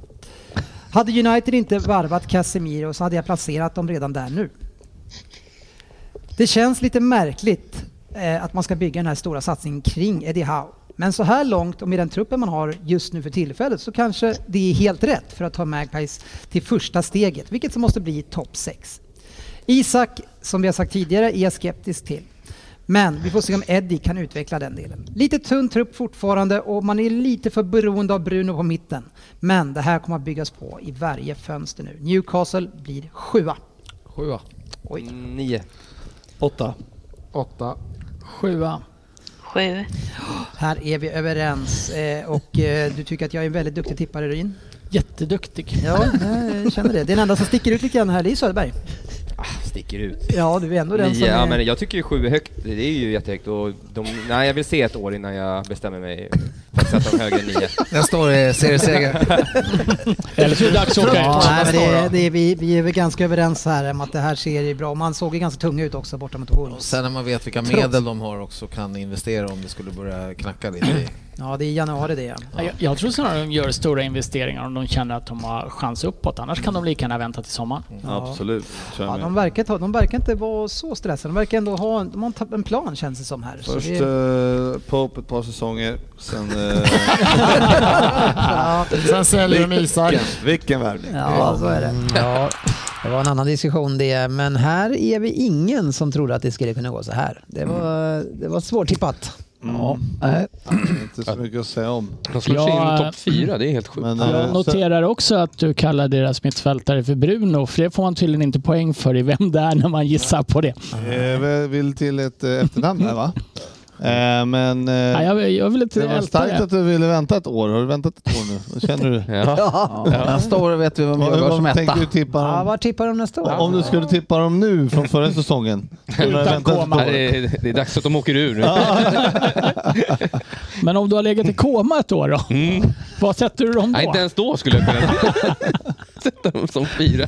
Speaker 3: Hade United inte varvat Casemiro så hade jag placerat dem redan där nu. Det känns lite märkligt eh, att man ska bygga den här stora satsningen kring Eddie Howe. Men så här långt och med den truppen man har just nu för tillfället så kanske det är helt rätt för att ta Magpies till första steget, vilket så måste bli topp 6. Isak, som vi har sagt tidigare, är jag skeptisk till. Men vi får se om Eddie kan utveckla den delen. Lite tunn trupp fortfarande och man är lite för beroende av Bruno på mitten. Men det här kommer att byggas på i varje fönster nu. Newcastle blir sjua.
Speaker 8: Sjua.
Speaker 3: Oj.
Speaker 6: Nio.
Speaker 3: Åtta.
Speaker 9: Åtta.
Speaker 5: Sjua.
Speaker 11: Sju.
Speaker 3: Här är vi överens eh, och eh, du tycker att jag är en väldigt duktig tippare Ryn.
Speaker 5: Jätteduktig.
Speaker 3: Ja, jag känner det. Den enda som sticker ut lite grann här det är Söderberg.
Speaker 6: Ah, Sticker ut.
Speaker 3: Ja, du är ändå den
Speaker 6: Nio,
Speaker 3: som
Speaker 6: ja,
Speaker 3: är...
Speaker 6: men jag tycker ju sju är högt, det är ju jättehögt och de, nej jag vill se ett år innan jag bestämmer mig för att sätta dem högre än nio.
Speaker 8: Nästa år är serieseger.
Speaker 5: Eller så är det dags att åka
Speaker 3: Ja,
Speaker 5: ut.
Speaker 3: nej, men det, det, är vi, vi är väl ganska överens här om att det här ser ju bra Man såg ju ganska tunga ut också borta mot Wolves.
Speaker 8: Sen när man vet vilka
Speaker 3: Trots-
Speaker 8: medel de har också kan investera om det skulle börja knacka lite. i-
Speaker 3: Ja, det är i januari det. ja.
Speaker 5: Ja, Jag, jag tror snarare de gör stora investeringar om de känner att de har chans uppåt. Annars kan de lika gärna vänta till sommaren.
Speaker 3: Ja.
Speaker 4: Absolut. Kör
Speaker 3: Ja,
Speaker 4: med.
Speaker 3: de, verkar ta, de verkar inte vara så stressade. De verkar ändå ha en, de har en ta- en plan känns det som här. Så
Speaker 4: Först
Speaker 3: det är-
Speaker 4: eh, Pope ett par säsonger, sen... eh,
Speaker 3: Ja. Sen säljer de Isak.
Speaker 4: Vilken- Vilken värvning.
Speaker 3: Ja, så är det. Ja, det var en annan diskussion det, men här är vi ingen som trodde att det skulle kunna gå så här. Det var, det var svårtippat.
Speaker 4: Ja, Inte så mycket att säga om.
Speaker 5: slår
Speaker 6: De
Speaker 5: sig Ja, in i topp fyra,
Speaker 6: det är helt sjukt.
Speaker 4: Men,
Speaker 5: Jag
Speaker 4: eh, sen-
Speaker 5: noterar också att du kallar deras mittfältare för Bruno, för det får man tydligen inte poäng för i vem det är när man gissar på det.
Speaker 4: eh, vi vill till ett eh, efternamn här va? Eh, men eh,
Speaker 5: Ja, jag, jag vill inte
Speaker 4: det var
Speaker 5: älta
Speaker 4: starkt
Speaker 5: det.
Speaker 4: att du ville vänta ett år. Har du väntat ett år nu? Vad Känner du?
Speaker 7: Ja. Nästa år vet vi vem jag går som
Speaker 4: Vad
Speaker 7: etta.
Speaker 4: tänker du tippa
Speaker 3: Ja,
Speaker 4: dem?
Speaker 3: vad tippar de nästa år?
Speaker 4: Om du skulle tippa dem nu från förra säsongen? Om du har väntat ett
Speaker 5: koma.
Speaker 4: år.
Speaker 6: Nej, det, är, det är dags att de åker ur nu.
Speaker 5: Men om du har legat i koma ett år då?
Speaker 4: Mm.
Speaker 5: Vad sätter du dem
Speaker 6: Nej, inte
Speaker 5: då?
Speaker 6: ens då skulle jag kunna sätta dem som fyra.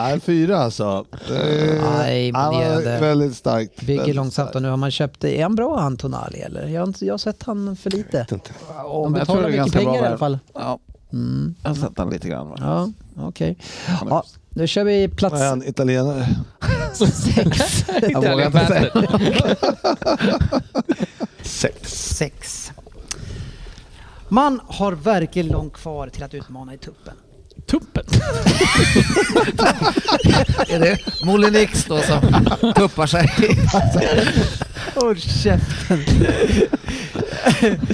Speaker 4: Nej, fyra alltså. Det-
Speaker 3: Nej,
Speaker 4: Ja,
Speaker 3: imponerande.
Speaker 4: Väldigt starkt.
Speaker 3: Bygger
Speaker 4: Väldigt
Speaker 3: långsamt och nu har man köpt det. Är han bra han Tonali eller? Jag har, inte, jag har sett han för lite. De
Speaker 7: men jag tror
Speaker 3: betalar
Speaker 7: det är
Speaker 3: mycket
Speaker 7: ganska bra
Speaker 3: pengar i alla
Speaker 7: värv.
Speaker 3: fall.
Speaker 7: Ja,
Speaker 3: Mm.
Speaker 7: jag har sett den lite grann. Va?
Speaker 3: Ja, okej. Ja, nu kör vi
Speaker 4: Vad är
Speaker 3: plats
Speaker 4: han? Italienare?
Speaker 3: sex.
Speaker 7: Jag vågar inte säga.
Speaker 4: Sex.
Speaker 3: sex. Man har verkligen långt kvar till att utmana i tuppen.
Speaker 5: Tuppen.
Speaker 8: Är det Molinix då som tuppar sig?
Speaker 3: Håll käften.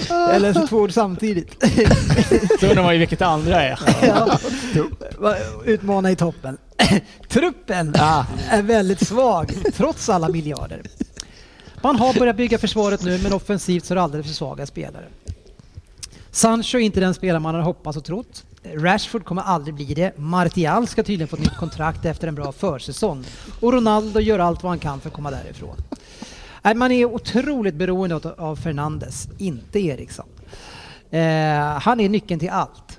Speaker 3: Jag läser två ord samtidigt.
Speaker 5: Då undrar man ju vilket andra är.
Speaker 3: Ja. Va- Utmana i toppen. Truppen är väldigt svag trots alla miljarder. Man har börjat bygga försvaret nu men offensivt så är det alldeles för svaga spelare. Sancho är inte den spelare man hade hoppats och trott. Rashford kommer aldrig bli det. Martial ska tydligen få ett nytt kontrakt efter en bra försäsong. Och Ronaldo gör allt vad han kan för att komma därifrån. Nej, Man är otroligt beroende av- av Fernandes, inte Eriksson. Eh, han är nyckeln till allt.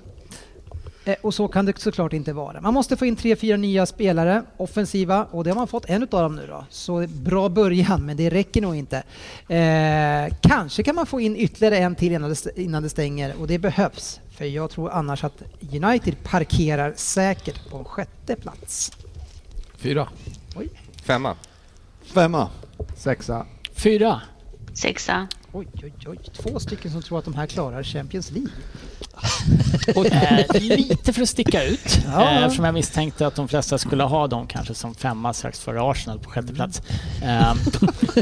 Speaker 3: Eh, Och så kan det såklart inte vara. Man måste få in tre, fyra nya spelare, offensiva, och det har man fått en utav dem nu då. Så bra början, men det räcker nog inte. Eh, kanske kan man få in ytterligare en till innan det, st- innan det stänger, och det behövs. För jag tror annars att United parkerar säkert på en sjätte plats.
Speaker 8: Fyra.
Speaker 3: Oj.
Speaker 6: Femma.
Speaker 4: Femma.
Speaker 9: Sexa.
Speaker 5: Fyra.
Speaker 11: Sexa.
Speaker 3: Oj, oj, oj. Två stycken som tror att de här klarar Champions League.
Speaker 5: Och, eh, lite för att sticka ut.
Speaker 3: Ja.
Speaker 5: Eh, eftersom jag misstänkte att de flesta skulle ha dem kanske som femma strax före Arsenal på sjätte plats. Eh,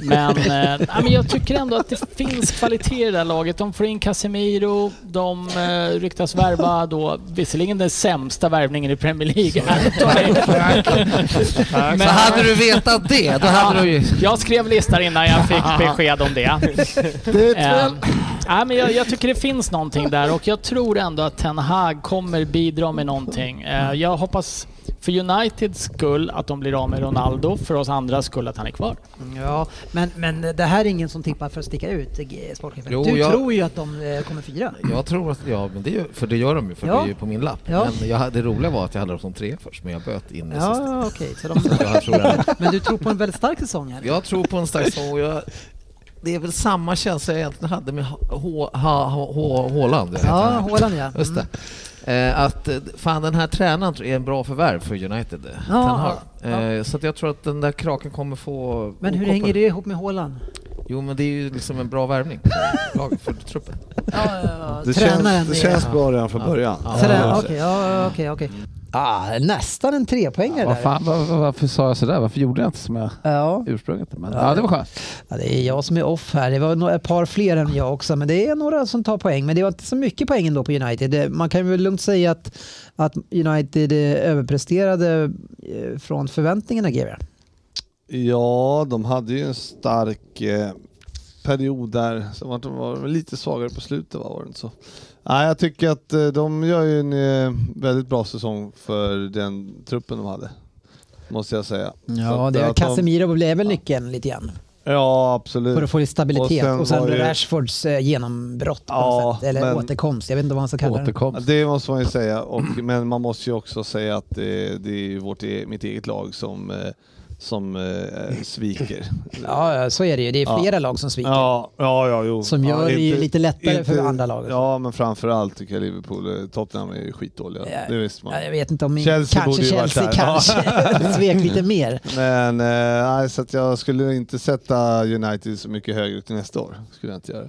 Speaker 5: men, eh, nej, men jag tycker ändå att det finns kvalitet i det här laget. De får in Casemiro, de eh, ryktas värva då, visserligen den sämsta värvningen i Premier League.
Speaker 8: Så hade du vetat det, då hade du ju-
Speaker 5: Jag skrev listan innan jag fick besked om det.
Speaker 9: Det är ett
Speaker 5: Eh,
Speaker 9: fel.
Speaker 5: nej, men jag, jag tycker det finns någonting där och jag tror ändå att Ten Hag kommer bidra med någonting. Eh, jag hoppas för Uniteds skull att de blir av med Ronaldo, för oss andra skull att han är kvar.
Speaker 3: Ja, men, men det här är ingen som tippar för att sticka ut, G- sportchefen.
Speaker 8: Jo,
Speaker 3: du
Speaker 8: jag-
Speaker 3: tror ju att de eh, kommer fyra.
Speaker 8: Jag tror att, ja men det är ju, för det gör de ju, för
Speaker 3: Ja.
Speaker 8: det är ju på min lapp.
Speaker 3: Ja.
Speaker 8: Men jag, det roliga var att jag hade dem som tre först, men jag böt in det sista.
Speaker 3: Ja, okej. så
Speaker 8: Så jag tror
Speaker 3: de...
Speaker 8: att-
Speaker 3: men du tror på en väldigt stark säsong här?
Speaker 8: Jag tror på en stark säsong och jag, det är väl samma känsla jag egentligen hade med H- H- H- H- Haaland. jag vet
Speaker 3: Ja,
Speaker 8: inte.
Speaker 3: Haaland, ja.
Speaker 8: Just det. Eh, att eh, fan den här tränaren tror jag är en bra förvärv för United. eh,
Speaker 3: Ja,
Speaker 8: Ten Hag. Eh, Så att jag tror att den där kraken kommer få...
Speaker 3: Men hur
Speaker 8: okoppar.
Speaker 3: hänger det ihop med Haaland?
Speaker 8: Jo men det är ju liksom en bra värvning för lag- för truppen.
Speaker 4: Det känns, det känns bra redan från
Speaker 8: Ja.
Speaker 4: början.
Speaker 8: Ja.
Speaker 3: Trä- Okej, ja, okej, okej. Ah, nästan en trepoängare
Speaker 13: Vad fan, var, var, varför sa jag sådär? Varför gjorde jag inte som jag
Speaker 3: Ja.
Speaker 13: ursprungligen? Men, ja, det var skönt.
Speaker 3: Ja, det är jag som är off här. Det var några- ett par fler än jag också, men det är några som tar poäng. Men det var inte så mycket poäng ändå på United. Det- Man kan väl lugnt säga att, att United eh, överpresterade eh, från förväntningarna, GW.
Speaker 4: Ja, de hade ju en stark eh, period där. Sen var de var väl lite svagare på slutet, va? var det inte så? Nej, jag tycker att eh, de gör ju en eh, väldigt bra säsong för den truppen de hade. Måste jag säga. Så
Speaker 3: Ja,
Speaker 4: att,
Speaker 3: det
Speaker 4: eh,
Speaker 3: är
Speaker 4: att de-
Speaker 3: Casemiro blev väl nyckeln lite grann.
Speaker 4: Ja, absolut.
Speaker 3: För att få lite stabilitet. Och sen,
Speaker 4: var ju-
Speaker 3: Rashfords eh, genombrott på
Speaker 4: Ja,
Speaker 3: något sätt, eller
Speaker 4: men-
Speaker 3: återkomst. Jag vet inte vad man ska kalla
Speaker 4: Ja, Det måste man ju säga, och, men man måste ju också säga att det, det är ju vårt, e- mitt eget lag som, eh, som eh, sviker.
Speaker 3: det. Ja, ja, så är det ju. Det är flera lag som sviker.
Speaker 4: Ja, ja, ja, jo.
Speaker 3: Som gör
Speaker 4: ja,
Speaker 3: det ju lite lättare för andra
Speaker 4: lag. Ja, men framförallt tycker jag Liverpool, eh, Tottenham är ju skitdåliga.
Speaker 3: Ja,
Speaker 4: det visste man.
Speaker 3: ja, jag vet inte om min- kanske
Speaker 4: borde ju varit
Speaker 3: Chelsea
Speaker 4: där.
Speaker 3: kanske svek lite mer.
Speaker 4: Men eh, nej, så att jag skulle inte sätta United så mycket högre till nästa år. Skulle jag inte göra.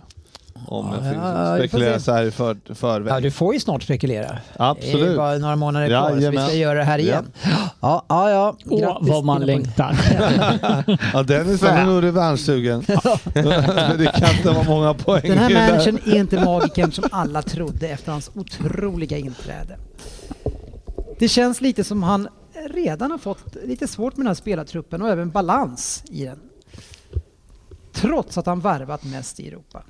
Speaker 4: Om
Speaker 3: Ja,
Speaker 4: jag fick
Speaker 3: ja, vi får
Speaker 4: spekulera
Speaker 3: se.
Speaker 4: så här i för, förväg.
Speaker 3: Ja, du får ju snart spekulera.
Speaker 4: Absolut.
Speaker 3: Det är ju bara några månader kvar, så vi
Speaker 4: Jajamän.
Speaker 3: ska göra det här igen. Ja, ja, ja.
Speaker 5: Åh,
Speaker 3: Grattis,
Speaker 5: vad man
Speaker 3: dina poäng.
Speaker 5: längtar.
Speaker 4: Ja, Dennis han är nog revanschsugen. Men det kan inte vara många poäng.
Speaker 3: Den här
Speaker 4: i det
Speaker 3: managern är inte magikern som alla trodde efter hans otroliga inträde. Det känns lite som han redan har fått lite svårt med den här spelartruppen och även balans i den. Trots att han värvat mest i Europa.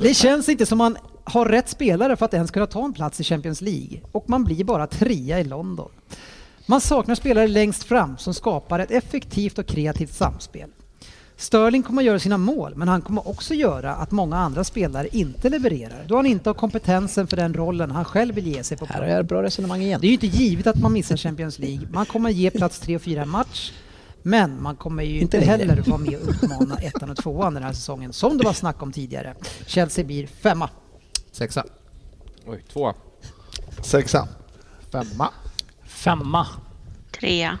Speaker 3: Det känns inte som han har rätt spelare för att ens kunna ta en plats i Champions League och man blir bara trea i London. Man saknar spelare längst fram som skapar ett effektivt och kreativt samspel. Sterling kommer att göra sina mål, men han kommer också göra att många andra spelare inte levererar, då han inte har kompetensen för den rollen han själv vill ge sig på plan.
Speaker 14: är ett bra resonemang igen.
Speaker 3: Det är ju inte givet att man missar Champions League. Man kommer ge plats 3 och 4 match, men man kommer ju inte
Speaker 14: längre.
Speaker 3: heller vara med och utmana ettan och tvåan den här säsongen, som det var snack om tidigare. Chelsea blir femma.
Speaker 8: Sexa.
Speaker 6: Oj, två.
Speaker 4: där. Sexa.
Speaker 9: Femma.
Speaker 5: Femma.
Speaker 11: Trea.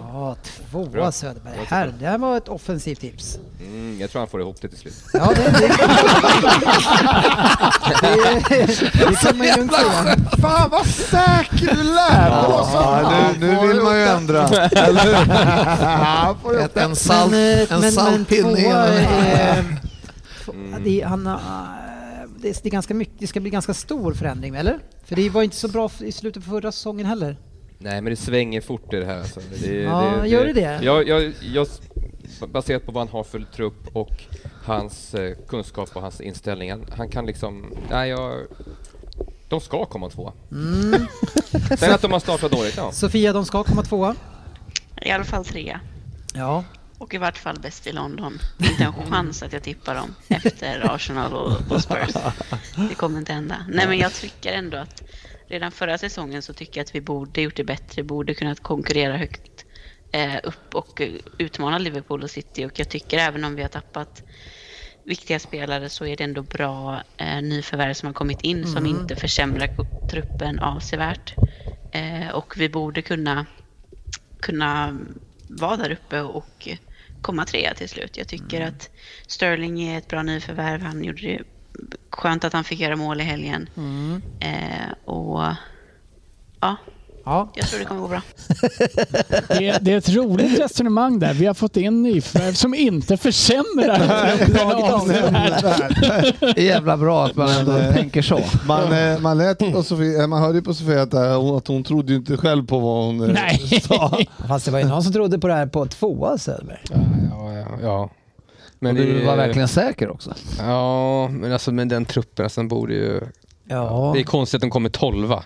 Speaker 3: Ja, tvåa
Speaker 6: Bra.
Speaker 3: Söderberg. Här, det här var ett offensivt tips.
Speaker 6: Mm, jag tror han får ihop det till slut.
Speaker 3: Ja, det, det. det, det kan man ju inte säga.
Speaker 9: Fan vad säker du lät!
Speaker 4: Ja, nu, nu vill man ju ändra. Eller hur?
Speaker 8: Ett, en salt,
Speaker 3: Men, eh,
Speaker 8: en
Speaker 3: men- men
Speaker 8: salt pinne
Speaker 3: tvåa
Speaker 8: genom
Speaker 3: är- F- Det, är- han, har- det, är- det, är ganska mycket, det ska bli ganska stor förändring, eller? För det var inte så bra f- i slutet på förra säsongen heller.
Speaker 6: Nej, men det svänger fort i det här. Alltså. Det,
Speaker 3: Ja, gör det det?
Speaker 6: Jag, jag, jag, baserat på vad han har för trupp och hans eh, kunskap och hans inställning. Han, han kan liksom... Nej, jag, de ska komma två.
Speaker 3: Mm.
Speaker 6: Sen att de har startat dåligt, ja.
Speaker 3: Sofia, de ska komma tvåa.
Speaker 11: I alla fall trea.
Speaker 3: Ja.
Speaker 11: Och i vart fall bäst i London. Inte en chans att jag tippar dem efter Arsenal och, och Spurs. Det kommer inte hända. Nej men jag tycker ändå att redan förra säsongen så tycker jag att vi borde gjort det bättre, borde kunnat konkurrera högt eh, upp och eh, utmana Liverpool och City och jag tycker även om vi har tappat viktiga spelare så är det ändå bra eh, nyförvärv som har kommit in som
Speaker 2: Mm.
Speaker 11: inte försämrar ku- truppen avsevärt. Eh, och vi borde kunna, kunna vara där uppe och komma trea till slut. Jag tycker att Sterling är ett bra nyförvärv. Han gjorde det skönt att han fick göra mål i helgen.
Speaker 10: Mm.
Speaker 11: Eh, och ja,
Speaker 10: ja,
Speaker 11: jag tror det kommer gå bra.
Speaker 5: Det, det är ett roligt resonemang där. Vi har fått in nyförvärv som inte försämrar truppen avsevärt.
Speaker 7: Jävla bra att man ändå
Speaker 3: eh,
Speaker 7: tänker så.
Speaker 4: Man, eh, man, lät på Sofia, eh, man hörde ju på Sofia att, eh, hon- att hon trodde ju inte själv på vad hon eh, sa.
Speaker 3: Fast det var ju någon som trodde på det här på tvåa Söderberg.
Speaker 15: Ja, ja, ja.
Speaker 7: Och du
Speaker 15: det-
Speaker 7: var verkligen säker också.
Speaker 15: Ja, men alltså med den truppen, alltså, den borde ju...
Speaker 3: Ja.
Speaker 15: Det är konstigt att de kommer tolva.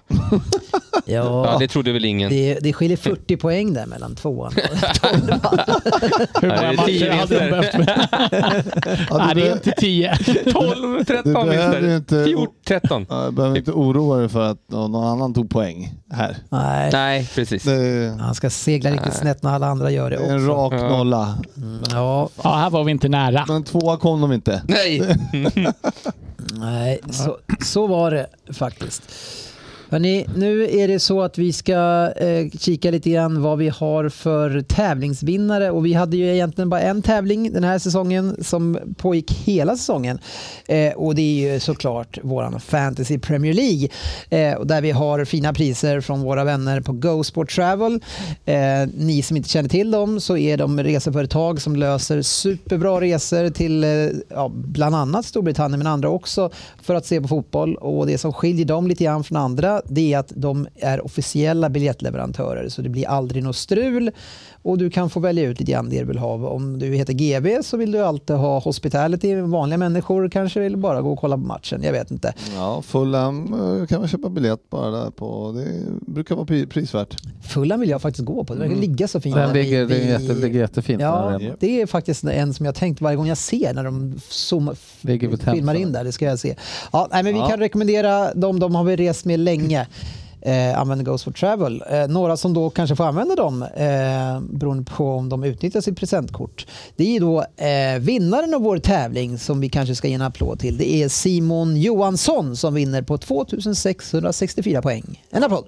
Speaker 3: Ja.
Speaker 15: det trodde väl ingen.
Speaker 3: Det, det skiljer 40 poäng där mellan tvåan och
Speaker 5: Hur många matcher hade de behövt? Nej, det är inte tio. Tolv,
Speaker 4: Du
Speaker 5: tretton
Speaker 4: behöver ju inte,
Speaker 15: Fjort- 13.
Speaker 4: Ja, du behöver inte oroa dig för att någon någon annan tog poäng här.
Speaker 3: Nej.
Speaker 15: Nej, precis.
Speaker 3: Han ska segla riktigt snett när alla andra gör det
Speaker 4: Det
Speaker 3: också.
Speaker 4: är en rak nolla.
Speaker 3: Ja.
Speaker 5: ja, här var vi inte nära.
Speaker 4: Men tvåa kom de inte.
Speaker 15: Nej!
Speaker 3: Mm. Nej, så, så var det faktiskt. Hörrni, nu är det så att vi ska eh, kika lite grann vad vi har för tävlingsvinnare och vi hade ju egentligen bara en tävling den här säsongen som pågick hela säsongen eh, och det är ju såklart våran Fantasy Premier League eh, och där vi har fina priser från våra vänner på Go Sport Travel. Eh, ni som inte känner till dem så är de reseföretag som löser superbra resor till eh, ja, bland annat Storbritannien men andra också för att se på fotboll. Och Det som skiljer dem lite grann från andra det är att de är officiella biljettleverantörer så det blir aldrig något strul. Och Du kan få välja ut lite grann det du vill ha. Om du heter GB så vill du alltid ha hospitality. Vanliga människor kanske vill bara gå och kolla på matchen. Jag vet inte.
Speaker 4: Ja, Fulham eh, kan man köpa biljett bara där på. Det brukar vara pri- prisvärt.
Speaker 3: Fulham vill jag faktiskt gå på. Det verkar
Speaker 4: Mm.
Speaker 3: ligga så fint.
Speaker 7: Den
Speaker 3: där vid-
Speaker 7: ligger, det är
Speaker 3: vid-
Speaker 7: jätte, ligger jättefint.
Speaker 3: Ja,
Speaker 7: där.
Speaker 3: det är faktiskt en som jag tänkt varje gång jag ser när de zoomar,
Speaker 7: Ligger vid
Speaker 3: filmar
Speaker 7: Thames,
Speaker 3: in där. Det ska jag se. Ja, nej, men vi
Speaker 7: Ja.
Speaker 3: kan rekommendera dem. De har vi rest med länge. Eh, använder Goes for Travel. Eh, några som då kanske får använda dem eh, beroende på om de utnyttjar sitt presentkort. Det är ju då eh, vinnaren av vår tävling som vi kanske ska ge en applåd till. Det är Simon Johansson som vinner på 2664 poäng. En applåd!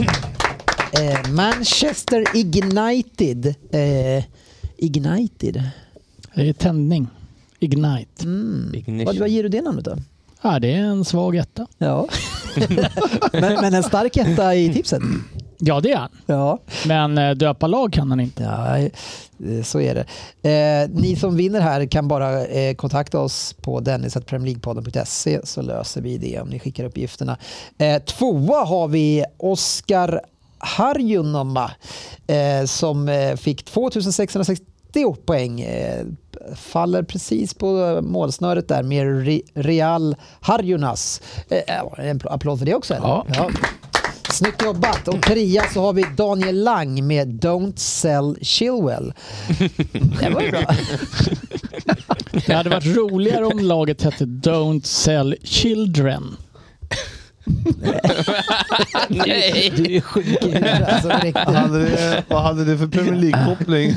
Speaker 3: Eh, Manchester Ignited. Eh, Ignited.
Speaker 5: Det är tändning. Ignite.
Speaker 3: Vad, vad ger du det namnet då?
Speaker 5: Ja, det är en svag etta.
Speaker 3: Ja. men, men en stark etta i tipset?
Speaker 5: Ja, det är han.
Speaker 3: Ja.
Speaker 5: Men eh, döpa lag kan han inte.
Speaker 3: Nej, eh, så är det. Eh, ni som vinner här kan bara eh, kontakta oss på dennis.premierleaguepodden.se så löser vi det om ni skickar uppgifterna. Eh, tvåa har vi Oskar Harjunoma eh, som eh, fick 2660 poäng. Eh, faller precis på eh, målsnöret där med Re- Real Harjunas. Eh, eh, en applåd för det också. Eller?
Speaker 7: Ja.
Speaker 3: Snyggt jobbat! Och trea så har vi Daniel Lang med Don't sell Chilwell. Det var ju bra.
Speaker 5: Det hade varit roligare om laget hette Don't Sell Children.
Speaker 15: Ah,
Speaker 3: Nej. Du, du är sjuk i huvudet. Alltså, direkt.
Speaker 4: Vad hade det, vad hade det för Premier League-koppling?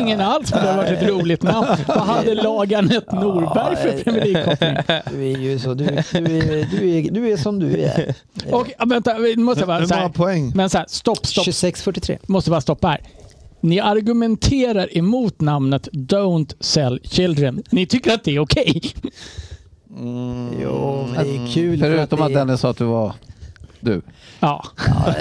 Speaker 5: Ingen alls, men det hade varit ett roligt namn. Vad hade lagarnet Norberg för Premier League-koppling?
Speaker 3: Du är ju så, du, du, är, du, är, du är som du är.
Speaker 5: Och, ja, vänta, vi måste bara,
Speaker 3: Hur
Speaker 5: så här,
Speaker 3: många
Speaker 4: poäng?
Speaker 5: Men så här, stopp, stopp.
Speaker 3: 26.43.
Speaker 5: Måste bara stoppa här. Ni argumenterar emot namnet Don't Sell Children. Ni tycker att det är okej.
Speaker 3: Jo, men det är kul för
Speaker 7: Förutom
Speaker 3: att
Speaker 7: att
Speaker 3: det-
Speaker 7: Dennis sa att du var du.
Speaker 5: Ja.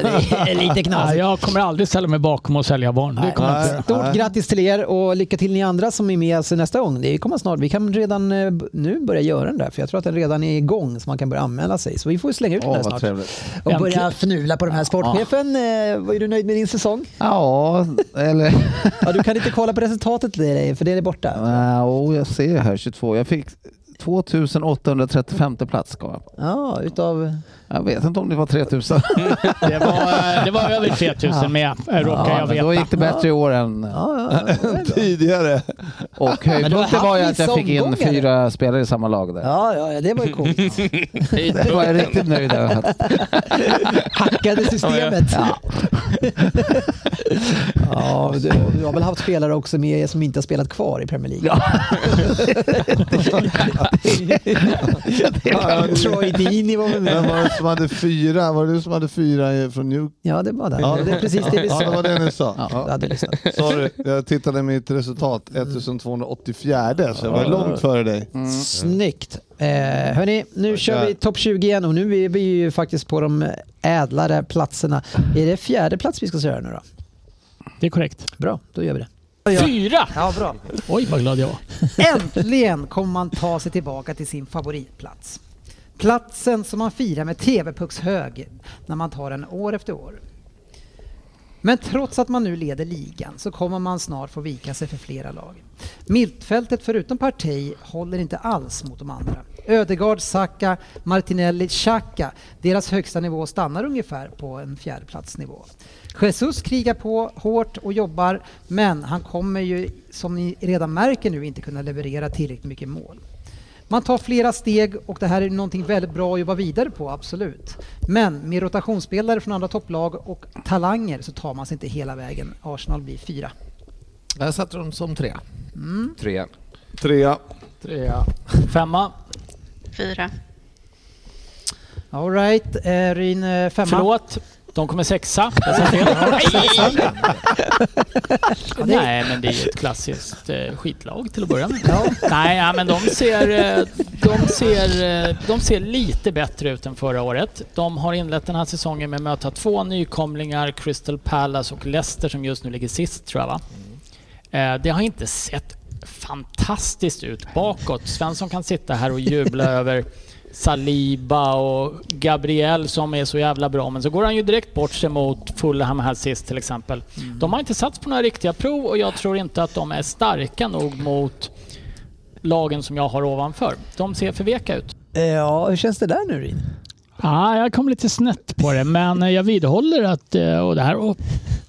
Speaker 3: det är lite knasigt.
Speaker 5: Ja, jag kommer aldrig ställa mig bakom och sälja barn. Det kommer jag inte göra.
Speaker 3: Stort grattis till er och lycka till ni andra som är med oss nästa gång. Det kommer snart. Vi kan redan eh, b- nu börja göra den där, för jag tror att den redan är igång så man kan börja anmäla sig. Så vi får slänga ut
Speaker 7: Åh,
Speaker 3: den
Speaker 7: vad
Speaker 3: där snart.
Speaker 7: trevligt.
Speaker 3: Och börja
Speaker 7: Äntligen.
Speaker 3: fnula på den här sportchefen. Eh, Var är du nöjd med din säsong?
Speaker 7: Ja, eller...
Speaker 3: ja, du kan inte kolla på resultatet, det är- för det är borta.
Speaker 7: Nej, åh, jag ser ju här 22. Jag fick
Speaker 8: 2835 plats ska jag på.
Speaker 16: Ja, utav?
Speaker 8: Jag vet inte om det var 3000.
Speaker 5: Det var, eh, det var över 3000 med, eh, råkar jag
Speaker 8: men
Speaker 5: veta.
Speaker 8: Då gick det bättre i år än
Speaker 4: tidigare.
Speaker 8: Och
Speaker 5: Men du har
Speaker 8: höjdpunkten var ju
Speaker 5: haft
Speaker 8: att jag
Speaker 5: vissa
Speaker 8: fick in
Speaker 5: omgångar.
Speaker 8: fyra spelare i samma lag där.
Speaker 16: Ja, ja, ja, det var ju coolt.
Speaker 8: Det var jag riktigt nöjd över.
Speaker 16: Hackade systemet.
Speaker 8: Ja.
Speaker 16: Ja, du, du har väl haft spelare också med som inte har spelat kvar i Premier League?
Speaker 4: Ja,
Speaker 16: Troy Deeney var väl med.
Speaker 4: Vem var det som hade fyra? Var det du som hade fyra i- från New...
Speaker 16: Ja, det var det. Det är precis det vi sa.
Speaker 4: Ja, det var det ni sa.
Speaker 16: Ja,
Speaker 4: Ja.
Speaker 16: jag hade lyssnat.
Speaker 4: Sorry, jag tittade mitt resultat. 1284, så jag var
Speaker 16: Mm. Ja.
Speaker 4: långt före dig.
Speaker 16: Snyggt. Eh, hörni, nu kör vi topp 20 igen och nu är vi ju faktiskt på de ädlare platserna. Är det fjärde plats vi ska köra nu då?
Speaker 5: Det är korrekt.
Speaker 16: Bra, då gör vi det.
Speaker 5: Fyra!
Speaker 16: Ja, bra.
Speaker 5: Oj, vad glad jag var.
Speaker 3: Äntligen kommer man ta sig tillbaka till sin favoritplats. Platsen som man firar med TV-puckshög när man tar den år efter år. Men trots att man nu leder ligan så kommer man snart få vika sig för flera lag. Mittfältet förutom Partey håller inte alls mot de andra. Ödegaard, Saka, Martinelli, Xhaka. Deras högsta nivå stannar ungefär på en fjärdeplatsnivå. Jesus krigar på hårt och jobbar men han kommer ju som ni redan märker nu inte kunna leverera tillräckligt mycket mål. Man tar flera steg och det här är någonting väldigt bra att jobba vidare på, absolut. Men med rotationsspelare från andra topplag och talanger så tar man sig inte hela vägen. Arsenal blir fyra.
Speaker 9: Där satte de som tre.
Speaker 3: Mm.
Speaker 17: Tre.
Speaker 4: Trea.
Speaker 9: Trea.
Speaker 5: Femma.
Speaker 2: Fyra.
Speaker 3: All right, eh, Ryn eh, femma.
Speaker 5: Förlåt. De kommer sexa. Jag sa fel. Nej. Nej, men det är ju ett klassiskt eh, skitlag till att börja med. Nej, ja, men de ser, eh, de, ser, eh, de ser lite bättre ut än förra året. De har inlett den här säsongen med att möta två nykomlingar, Crystal Palace och Leicester som just nu ligger sist tror jag va? Eh, Det har inte sett fantastiskt ut bakåt. Svensson kan sitta här och jubla över Saliba och Gabriel som är så jävla bra. Men så går han ju direkt bort sig mot Fulham här sist till exempel. De har inte satt på några riktiga prov och jag tror inte att de är starka nog mot lagen som jag har ovanför. De ser för veka ut.
Speaker 16: Eh, Ja, hur känns det där nu Rin?
Speaker 5: Ja, jag kom lite snett på det, men eh, jag vidhåller att, eh, och det här, och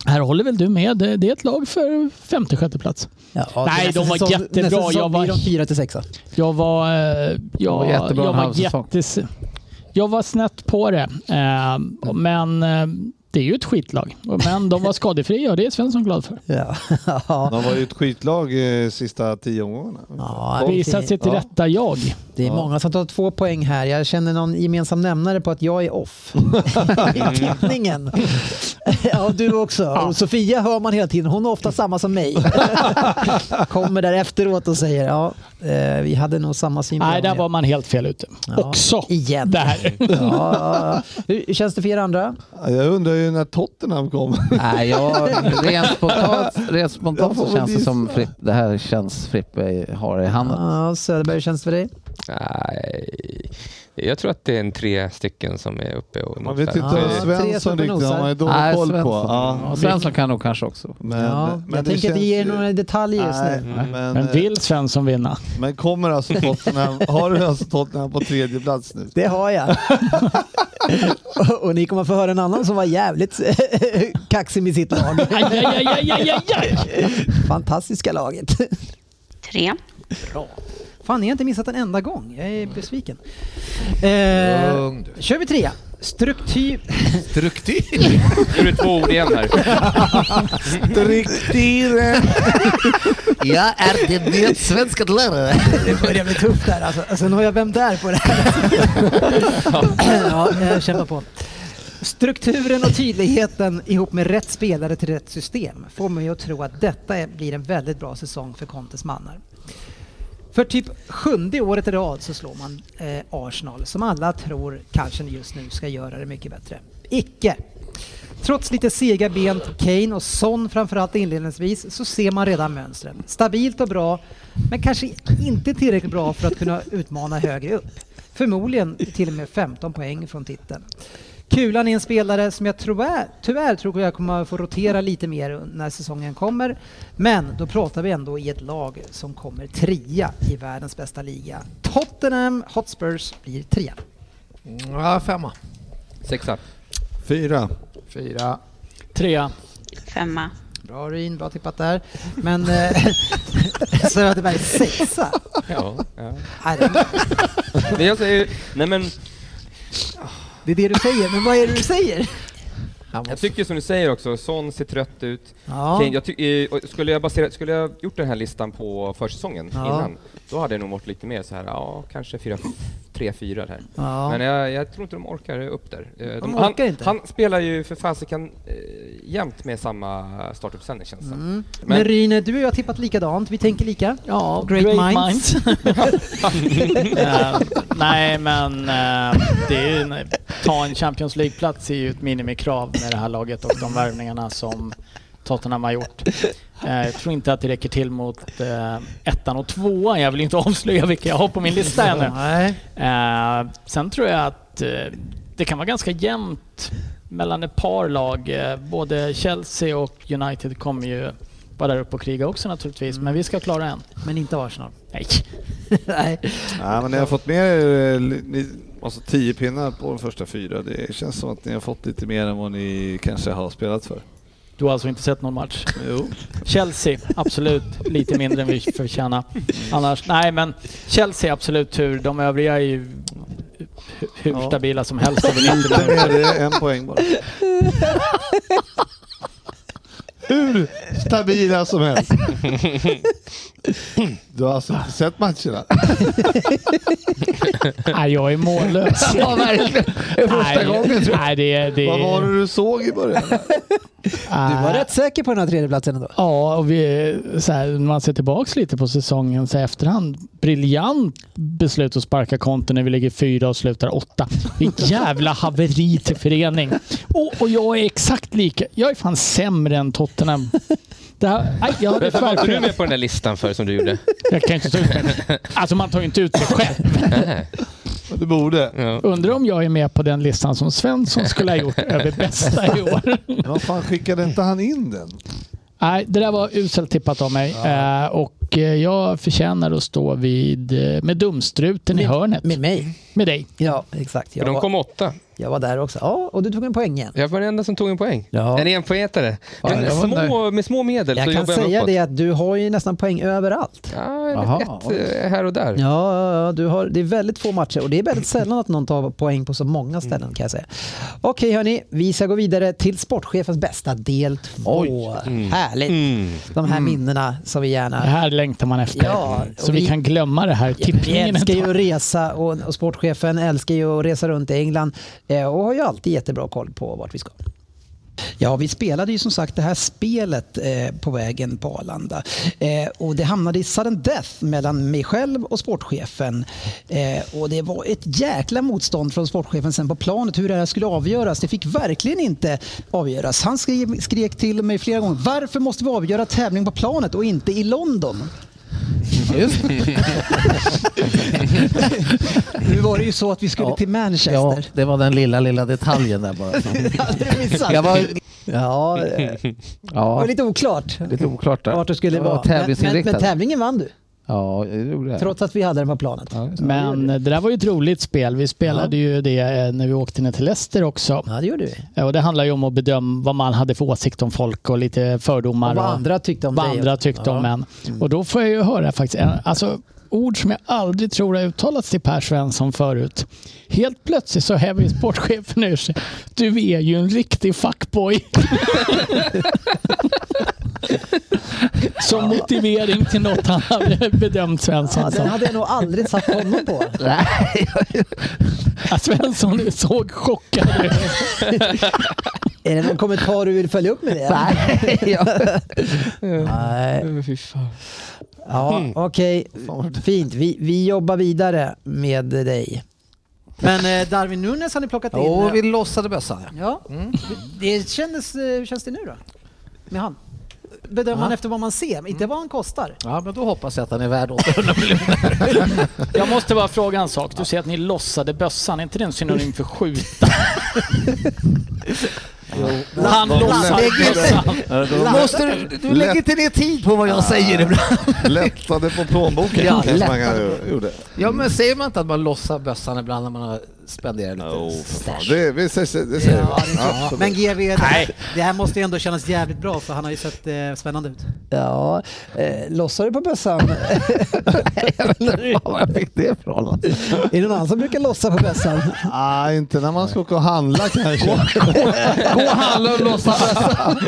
Speaker 5: här håller väl du med, det det är ett lag för femte, sjätte plats. Nej, de var jättebra. Jag var,
Speaker 16: blir de fyra till sexa.
Speaker 5: jag var, eh, jag,
Speaker 16: var jättebra
Speaker 5: jag,
Speaker 16: en
Speaker 5: var
Speaker 16: halv säsong.
Speaker 5: jättes, jag var snett på det, eh,
Speaker 16: Mm.
Speaker 5: men eh, det är ju ett skitlag. Men de var skadefria och det är Svensson glad för.
Speaker 16: Ja.
Speaker 4: De var ju ett skitlag eh, sista tio omgångarna.
Speaker 16: Ja,
Speaker 5: Visa sig till rätta jag.
Speaker 16: Det är
Speaker 4: Ja.
Speaker 16: många som tar två poäng här. Jag känner någon gemensam nämnare på att jag är off. I tippningen. Ja, du också. Och Sofia hör man hela tiden. Hon är ofta samma som mig. Kommer där efteråt och säger ja, eh, vi hade nog samma syn på
Speaker 5: Nej,
Speaker 16: dem.
Speaker 5: där var man helt fel ute. Också.
Speaker 16: Igen.
Speaker 5: Där.
Speaker 16: Ja, ja, ja. Hur känns det för er andra?
Speaker 4: Jag undrar ju när Tottenham kom.
Speaker 8: Nej, jag, rent spontant, rent
Speaker 4: Jag
Speaker 8: spontant
Speaker 4: får
Speaker 8: så känns
Speaker 4: väl
Speaker 8: det som
Speaker 4: gissa.
Speaker 8: Fripp, det här känns Frippe har i handen.
Speaker 16: Ja, Söderberg, hur känns det för dig?
Speaker 6: Nej. Jag tror att det är en tre stycken som är uppe och
Speaker 4: Man vet inte om Svensson riktigt, han har ju dålig
Speaker 8: Nej,
Speaker 4: koll på.
Speaker 8: Svensson. Ja, Svensson kan nog kanske också.
Speaker 4: Men,
Speaker 16: Ja, jag tänker inte ge er några detaljer just
Speaker 4: Nej,
Speaker 16: nu.
Speaker 4: men,
Speaker 5: Men vill Svensson vinna?
Speaker 4: Men kommer alltså Tottenham, har du alltså Tottenham på tredje plats nu?
Speaker 16: Det har jag. och, och ni kommer få höra en annan som var jävligt kaxig med sitt lag.
Speaker 5: Aj, aj, aj, aj, aj, aj,
Speaker 16: Fantastiska laget.
Speaker 2: Tre.
Speaker 3: Fan, ni har inte missat en enda gång. Jag är besviken. Eh,
Speaker 9: Lugn
Speaker 3: kör vi trea. Struktur...
Speaker 9: Struktur?
Speaker 17: Nu är det två ord igen här.
Speaker 9: Struktur. Jag är den nya svenska lärare.
Speaker 3: Det börjar bli tufft där alltså. Sen har jag Vem där på det här? ja, jag kämpar på. Strukturen och tydligheten ihop med rätt spelare till rätt system får mig att tro att detta är- blir en väldigt bra säsong för Contes mannar. För typ sjunde året i rad så slår man eh, Arsenal som alla tror kanske just nu ska göra det mycket bättre. Icke! Trots lite sega ben, Kane och Son framförallt inledningsvis, så ser man redan mönstren. Stabilt och bra, men kanske inte tillräckligt bra för att kunna utmana högre upp. Förmodligen till och med 15 poäng från titeln. Kulan är en spelare som jag tror är, tyvärr tror jag kommer få rotera lite mer när säsongen kommer. Men då pratar vi ändå i ett lag som kommer trea i världens bästa liga. Tottenham Hotspurs blir trea.
Speaker 8: Ja, femma.
Speaker 6: Sexa.
Speaker 4: Fyra.
Speaker 8: Fyra.
Speaker 5: Trea.
Speaker 11: Femma.
Speaker 3: Bra Ryn, bra tippat där. Men eh, Söderberg sexa.
Speaker 6: Ja, ja.
Speaker 3: Nej, det-
Speaker 6: Men jag säger, nej men,
Speaker 3: Det är det du säger, men vad är det du säger?
Speaker 6: jag tycker som du säger också, Son ser trött ut.
Speaker 3: Ja.
Speaker 6: Kane, jag ty- eh, och skulle, jag basera, skulle jag gjort den här listan på försäsongen
Speaker 3: Ja.
Speaker 6: innan, då hade jag nog varit lite mer så här, ja kanske fyra, tre, fyra där.
Speaker 3: Ja.
Speaker 6: Men jag, jag tror inte de orkar upp där. Eh,
Speaker 3: De
Speaker 6: han,
Speaker 3: orkar inte.
Speaker 6: Han spelar ju för fasiken eh, jämt med samma startuppställning känns det som.
Speaker 3: Mm. Men Ryn, du och jag har tippat likadant, vi tänker lika.
Speaker 5: Ja,
Speaker 3: great,
Speaker 5: great
Speaker 3: minds.
Speaker 5: Eh, nej, men eh, det är ju, en- ta en Champions League-plats är ju ett minimikrav med det här laget och de värvningarna som Tottenham har gjort. Eh, jag tror inte att det räcker till mot eh, ettan och tvåan. Jag vill inte avslöja vilka jag har på min lista ännu.
Speaker 3: Nej.
Speaker 5: Eh, sen tror jag att eh, det kan vara ganska jämnt mellan ett par lag. Eh, både Chelsea och United kommer ju vara där uppe och kriga också naturligtvis, men vi ska klara en.
Speaker 3: Men inte Arsenal?
Speaker 5: Nej.
Speaker 3: Nej.
Speaker 4: Nej, men ni har fått med er eh, li- ni, alltså tio pinnar på de första fyra. Det känns som att ni har fått lite mer än vad ni kanske har spelat för.
Speaker 5: Du har alltså inte sett någon match?
Speaker 4: Jo.
Speaker 5: Chelsea, absolut. Lite mindre än vi förtjänar. Annars, nej men Chelsea, absolut tur. De övriga är ju hu- hur
Speaker 4: Ja.
Speaker 5: stabila som helst över 90
Speaker 4: Inte mer, det
Speaker 5: minuter.
Speaker 4: är en poäng bara. Hur stabila som helst. Du har alltså inte sett matcherna?
Speaker 5: Nej, jag är mållös.
Speaker 4: Ja, verkligen. Det är första
Speaker 5: nej,
Speaker 4: gången, tror jag.
Speaker 5: Nej, det, är- det...
Speaker 4: Vad var det du såg i början?
Speaker 3: Du var rätt säker på den här tredjeplatsen ändå.
Speaker 5: Ja, och vi, så här, när man ser tillbaks lite på säsongen så i efterhand. Briljant beslut att sparka konton när vi ligger fyra och slutar åtta. Vilket jävla haveri till förening. Och, och jag är exakt lika. Jag är fan sämre än Tottenham. Det här, aj, jag hade
Speaker 18: Varför var inte du
Speaker 5: tvärfel.
Speaker 18: med på den där listan för som du gjorde?
Speaker 5: Jag kan inte ta ut mig. Alltså man tar ju inte ut sig själv.
Speaker 4: Du borde.
Speaker 5: Undrar om jag är med på den listan som Svensson skulle ha gjort över bästa i år.
Speaker 4: Vad fan, skickade inte han in den?
Speaker 5: Nej, det där var uselt tippat av mig. Eh, och eh, jag förtjänar att stå vid, eh, med dumstruten i hörnet. Med
Speaker 3: mig?
Speaker 5: Med dig.
Speaker 3: Ja, exakt.
Speaker 18: För de kom åtta.
Speaker 3: Jag var där också. Ja, och du tog en poäng igen.
Speaker 18: Jag var den enda som tog en poäng.
Speaker 3: Ja.
Speaker 18: En enpoängare. Men
Speaker 3: jag var
Speaker 18: små, med små medel så
Speaker 3: Jag kan
Speaker 18: jobbar jag mig
Speaker 3: säga
Speaker 18: uppåt.
Speaker 3: det att du har ju nästan poäng överallt.
Speaker 18: Ja, ett eh, här och där.
Speaker 3: Ja, ja, ja, du har, det är väldigt få matcher och det är väldigt sällan att någon tar poäng på så många
Speaker 18: Mm.
Speaker 3: ställen kan jag säga. Okej hörni, vi ska gå vidare till sportchefens bästa del 2.
Speaker 5: Mm.
Speaker 3: Härligt!
Speaker 5: Mm.
Speaker 3: De här
Speaker 5: Mm.
Speaker 3: minnena som vi gärna...
Speaker 5: Det här längtar man efter.
Speaker 3: Ja,
Speaker 5: så
Speaker 3: och
Speaker 5: vi,
Speaker 3: vi-
Speaker 5: kan glömma det här
Speaker 3: Vi
Speaker 5: tippningen.
Speaker 3: älskar ju att resa och, och sportchefen älskar ju att resa runt i England eh, och har ju alltid jättebra koll på vart vi ska. Ja, vi spelade ju som sagt det här spelet eh, på vägen på Arlanda. Eh, och det hamnade i sudden death mellan mig själv och sportchefen. Eh, och det var ett jäkla motstånd från sportchefen sen på planet hur det här skulle avgöras. Det fick verkligen inte avgöras. Han skrev, skrek till mig flera gånger. Varför måste vi avgöra tävling på planet och inte i London? Just. nu var det ju så att vi skulle till Manchester.
Speaker 8: Ja, det var den lilla, lilla detaljen där bara. Jag var...
Speaker 3: Ja, Det
Speaker 8: ja.
Speaker 3: var lite oklart.
Speaker 8: Lite oklart där.
Speaker 3: Vart du skulle
Speaker 8: Jag var
Speaker 3: vara. Men, men, men
Speaker 8: tävlingsinriktad.
Speaker 3: tävlingen vann du.
Speaker 8: Ja, det gjorde jag.
Speaker 3: Trots att vi hade den på planet.
Speaker 5: Men det där var ju ett roligt spel. Vi spelade ju det eh, när vi åkte ner till Leicester också. Eh,
Speaker 3: Ja, det gjorde vi.
Speaker 5: Och det handlar ju om att bedöma vad man hade för åsikt om folk och lite fördomar.
Speaker 3: Och vad andra tyckte om
Speaker 5: vad
Speaker 3: dig.
Speaker 5: andra tyckte
Speaker 3: Ja. Mm.
Speaker 5: om en. Och då får jag ju höra faktiskt, en- alltså, ord som jag aldrig tror har uttalats till Per Svensson förut. Helt plötsligt så häver sportchefen ur sig. Du är ju en riktig fuckboy. som motivering till något han hade bedömt Svensson
Speaker 3: Ja,
Speaker 5: som.
Speaker 3: den hade jag nog aldrig satt honom på.
Speaker 5: Ja, Svensson såg chockad ut.
Speaker 3: Är det någon kommentar du vill följa upp med det?
Speaker 5: Nej,
Speaker 3: ja. Nej. Ja, okej. Fint. Vi, vi jobbar vidare med dig. Men eh, Darwin Nunes har ni plockat in.
Speaker 8: Jo, vi lossade bössan.
Speaker 3: Ja. Det kändes, eh, hur känns det nu då? Med han?
Speaker 19: bedömer man
Speaker 8: Ja. Mm.
Speaker 19: efter vad man ser, inte vad han kostar.
Speaker 8: Ja, men då hoppas jag att han är värd 800 miljoner.
Speaker 9: Jag måste bara fråga en sak. Du säger att ni lossade bössan, är inte det en synonym för skjuta? Han lossar bössan.
Speaker 8: Måste du, du lägger inte ner tid på
Speaker 3: Ah.
Speaker 8: vad jag säger ibland.
Speaker 4: Lättade på plånboken
Speaker 8: Ja,
Speaker 4: kanske man
Speaker 8: lättade.
Speaker 4: gjorde.
Speaker 8: Ja, men säger man inte att man lossar bössan ibland när man har spenderat lite stash?
Speaker 4: Det, vi säger, det säger
Speaker 19: Ja,
Speaker 4: vi.
Speaker 19: det är
Speaker 4: Absolut.
Speaker 19: klart. Men GV, det, det här måste ju ändå kännas jävligt bra för han har ju sett eh, spännande ut.
Speaker 3: Ja, eh, lossar du på bössan?
Speaker 20: Var fick det ifrån? alltså?
Speaker 3: är det någon annan som brukar lossa på bössan?
Speaker 4: Nej, inte när man ska åka och handla kanske.
Speaker 8: Gå och handla och lossa bössan.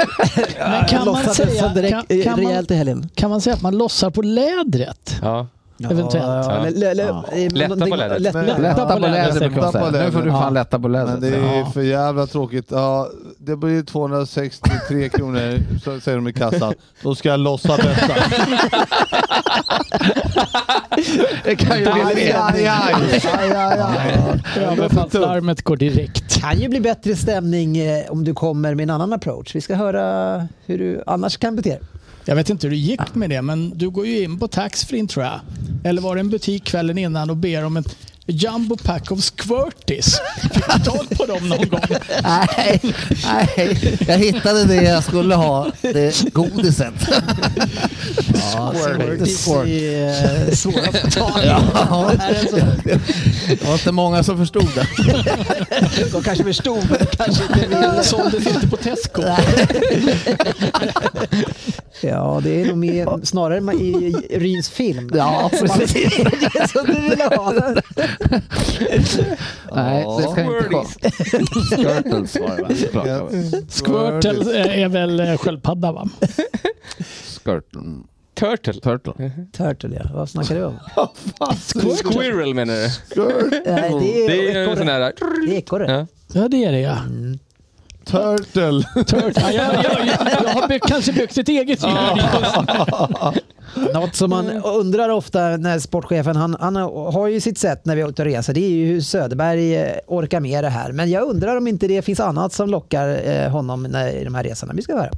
Speaker 5: Men kan man,
Speaker 3: Lossar
Speaker 5: säga,
Speaker 3: bössan direkt,
Speaker 5: kan,
Speaker 3: eh,
Speaker 5: kan, man,
Speaker 3: rejält i helgen.
Speaker 5: kan man säga att man lossar på lädret?
Speaker 6: Ja.
Speaker 5: Eventuellt.
Speaker 3: Ja, eller- eller- eh,
Speaker 6: Lätta på
Speaker 3: någonting-
Speaker 6: lädret.
Speaker 3: lätta-
Speaker 6: Men-
Speaker 20: Lätta på lädret, brukar jag
Speaker 4: Lätta på
Speaker 20: säga. Nu får du
Speaker 4: lädret.
Speaker 20: fan lätta på
Speaker 4: Men det är ju
Speaker 20: lädret.
Speaker 4: för jävla tråkigt. Ja, det blir ju 263 kronor, så säger de i kassan. Då ska jag lossa bästa.
Speaker 8: Det kan ju bli
Speaker 4: Aj, aj, aj.
Speaker 3: Aj, aj, aj.
Speaker 5: Överfallslarmet går direkt.
Speaker 3: kan ju bli bättre stämning eh, om du kommer med en annan approach. Vi ska höra hur du annars kan bete dig.
Speaker 5: Jag vet inte hur du gick med det, men du går ju in på taxfree tror jag. Eller var det en butik kvällen innan och ber om ett jumbo pack of squirties? Fick du tag på dem någon gång?
Speaker 8: Nej, nej, jag hittade det jag skulle ha, det godiset. Ja,
Speaker 19: Squirties är, eh, svåra att få tag i.
Speaker 8: Ja.
Speaker 19: Det här är en sån-
Speaker 8: Det var inte många som förstod det.
Speaker 3: De kanske förstod, men kanske inte ville.
Speaker 5: Såldes inte på Tesco.
Speaker 3: Ja, det är nog med, snarare ma- i Ryns film.
Speaker 8: Ja, precis.
Speaker 3: Det är som du vill ha.
Speaker 20: Nej, det kan inte vara. Skirtles var det va? Såklart.
Speaker 5: Squirtle eh, är väl eh, sköldpadda va?
Speaker 20: Skirtle.
Speaker 6: Turtle.
Speaker 20: Turtle.
Speaker 3: Turtle, ja. Vad snackar du om?
Speaker 6: Squirtle. Squirrel menar du?
Speaker 3: Nej, det är,
Speaker 6: Det är en
Speaker 3: ekorre.
Speaker 6: sån här...
Speaker 3: Det är ekorre.
Speaker 6: Ja.
Speaker 5: Ja det är det ja.
Speaker 4: Turtle.
Speaker 5: Turtle. Jag, jag, jag, jag har byggt, kanske byggt ett eget djur.
Speaker 3: Något som man undrar ofta när sportchefen, han, han har ju sitt sätt när vi åker och reser, det är ju hur Söderberg eh, orkar med det här. Men jag undrar om inte det finns annat som lockar eh, honom när, i de här resorna. Vi ska höra.